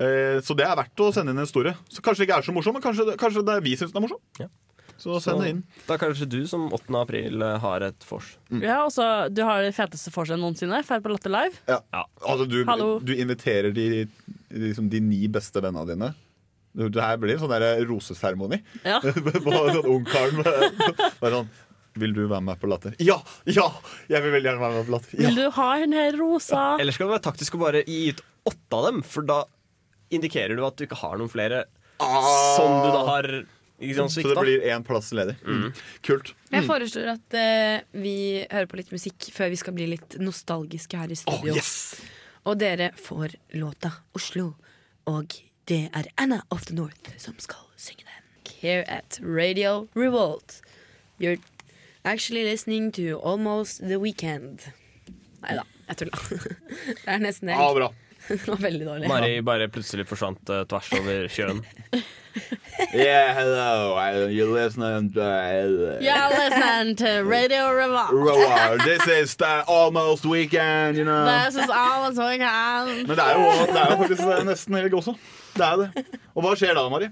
Eh, Så det er verdt å sende inn en historie. Så Kanskje det ikke er så morsom, men kanskje, kanskje det er vi syns den er morsom. Så send det inn.
Da kanskje du som 8. april eh, har et vors.
Mm.
Ja, og så Du har det feteste forskjellen noensinne. Ferd på Latter Live.
Ja. Altså,
Hallo.
du, du inviterer de, liksom, de ni beste vennene dine. Det her blir en sånn der roseseremoni.
Ja.
Bare sånn ungkaren bare bare sånn Vil du være med på Latter? Ja! Ja! Jeg vil veldig gjerne være med på Latter. Ja.
Vil du ha den her rosa?
Eller skal det være taktisk å bare gi ut åtte av dem, for da indikerer du at du ikke har noen flere som du da har ikke sant,
Ah.
Mm.
Så
svikta.
det blir én plass ledig. Mm. Kult.
Jeg foreslår at eh, vi hører på litt musikk før vi skal bli litt nostalgiske her i studio. Og dere får låta 'Oslo'. Og det er Anna of the North som skal synge den. Here at Radio Revolt. You're actually listening to Almost The Weekend. Nei da, jeg tulla. Det er nesten helt
Ja, bra.
Det var veldig dårlig.
Mari bare plutselig forsvant eh, tvers over sjøen.
Yeah, hello. I, you
Mm.
listening to uh,
Yeah, listen to Radio Revolt.
Roar. This is the almost weekend, you know.
This is all it's we can.
Men det er jo, det er jo faktisk nesten helg også. Det er det. Og hva skjer da, Mari?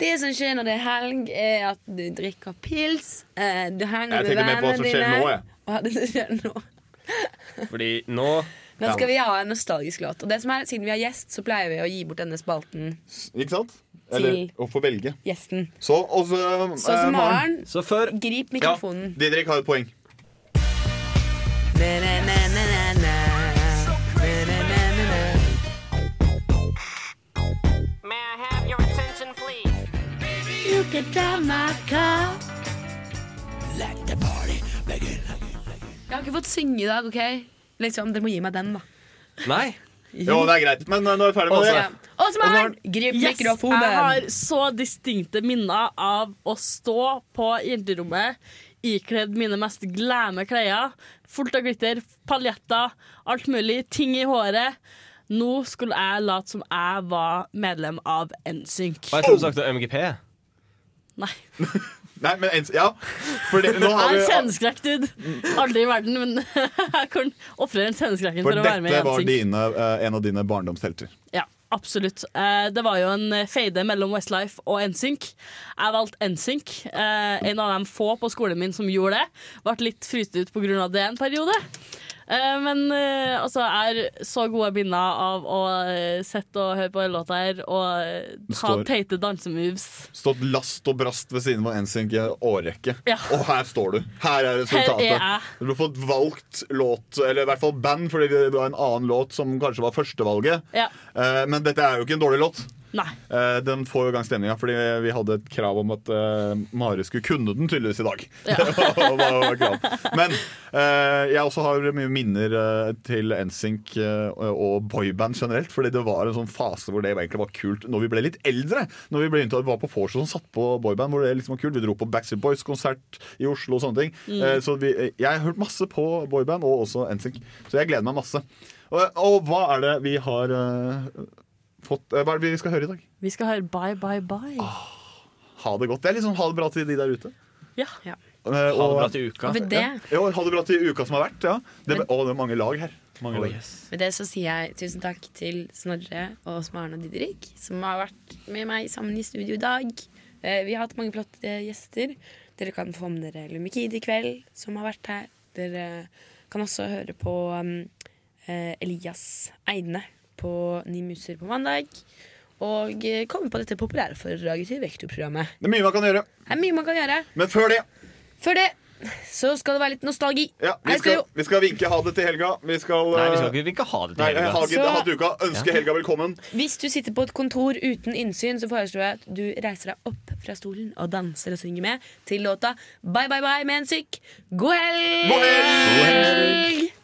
Det som skjer når det er helg, er at du drikker pils. eh, Du henger
Jeg
med
tenker mer på hva
vennene
som
dine.
skjer nå, jeg.
Hva er det som skjer nå?
Fordi nå
Nå skal vi ha en nostalgisk låt. Og det som er, siden vi har gjest, så pleier vi å gi bort denne spalten.
Ikke sant? Eller
Til.
å få velge.
Gjesten.
Så, og så, eh,
Så som Maren,
Så før
grip mikrofonen.
Ja, Didrik har et poeng.
Na, na, na, na, na, na. Na, na, na, na, na.
You can drive my car. Let the party begin.
Jeg har ikke fått synge i dag, OK? Liksom, Dere må gi meg den, da.
Nei.
Jo, det er greit. Men eh, nå er vi ferdig med det.
Og som Maren, grip mikrofonen.
Jeg har så distinkte minner av å stå på jenterommet ikledd mine mest glæme klær. Fullt av glitter, paljetter, alt mulig. Ting i håret. Nå skulle jeg late som jeg var medlem av NSYNC.
Hva er det som sagt om MGP?
Nei.
Nei, men ens, ja. For det, nå har
Jeg er
vi,
en sceneskrekk, dude. Aldri i verden, men jeg kan ofre den sceneskrekken for,
for
å være med i
dette var
NSYNC.
dine, eh, en av dine barndomshelter.
Ja, absolutt. Eh, det var jo en eh, fade mellom Westlife og NSYNC. Jeg valgte NSYNC. Eh, en av de få på skolen min som gjorde det. Ble litt fryst ut pga. det en periode. Eh, men eh, altså, jeg har så gode minner av å eh, sitte og høre på den låta her og eh,
Det
ha
står-
teite dansemoves.
Stått last og brast ved siden av NSYNC i en årrekke.
Ja.
Og her står du. Her er resultatet.
Her er jeg.
Du har fått valgt låt, eller i hvert fall band, fordi det var en annen låt som kanskje var førstevalget.
Ja.
Eh, Men dette er jo ikke en dårlig låt.
Nei.
Eh, Den får jo i gang stemninga, fordi vi hadde et krav om at eh, Mari skulle kunne den tydeligvis i dag. Det var- var krav. Men eh, jeg også har mye minner eh, til NSYNC eh, og boyband generelt. Fordi det var en sånn fase hvor det egentlig var kult når vi ble litt eldre. Når vi ble inntatt, var på Forsen og sånn, satt på boyband hvor det liksom var kult. Vi dro på Backstreet Boys-konsert i Oslo og sånne ting.
Mm.
Eh, Så vi, jeg har hørt masse på boyband og også NSYNC, så jeg gleder meg masse. Og, og hva er det vi har eh, fått eh, Hva er det vi skal høre i dag?
Vi skal høre Bye Bye Bye.
Ha det godt. Det er liksom ha det bra til de der ute.
Ja.
Ha det
bra til uka. Og ved det-
Ja. Jo, ha det bra til uka som har vært. Ja. Det, å, det er mange lag her. Mange lag.
Med det så sier jeg tusen takk til Snorre og Smaren og Didrik, som har vært med meg sammen i studio i dag. Eh, Vi har hatt mange flotte eh, gjester. Dere kan få med dere Lumikid i kveld, som har vært her. Dere kan også høre på um, eh, Elias Eidne på Ni muser på mandag. og eh, komme på dette populærforedraget til Vektorprogrammet.
Det er mye man kan gjøre.
Det er mye man kan gjøre.
Men før det
Før det så skal det være litt nostalgi.
ja, vi,
Her skal
skal,
jo-
vi skal vinke ha det til helga. Vi skal, eh,
Nei, vi skal ikke vinke ha det til
Nei,
helga.
ha det-
Så-
ha det til uka. Ønske
Ja.
helga velkommen.
Hvis du sitter på et kontor uten innsyn, så foreslår jeg at du reiser deg opp fra stolen og danser og synger med til låta Bye Bye Bye med en sykk. God helg!
God helg! God helg!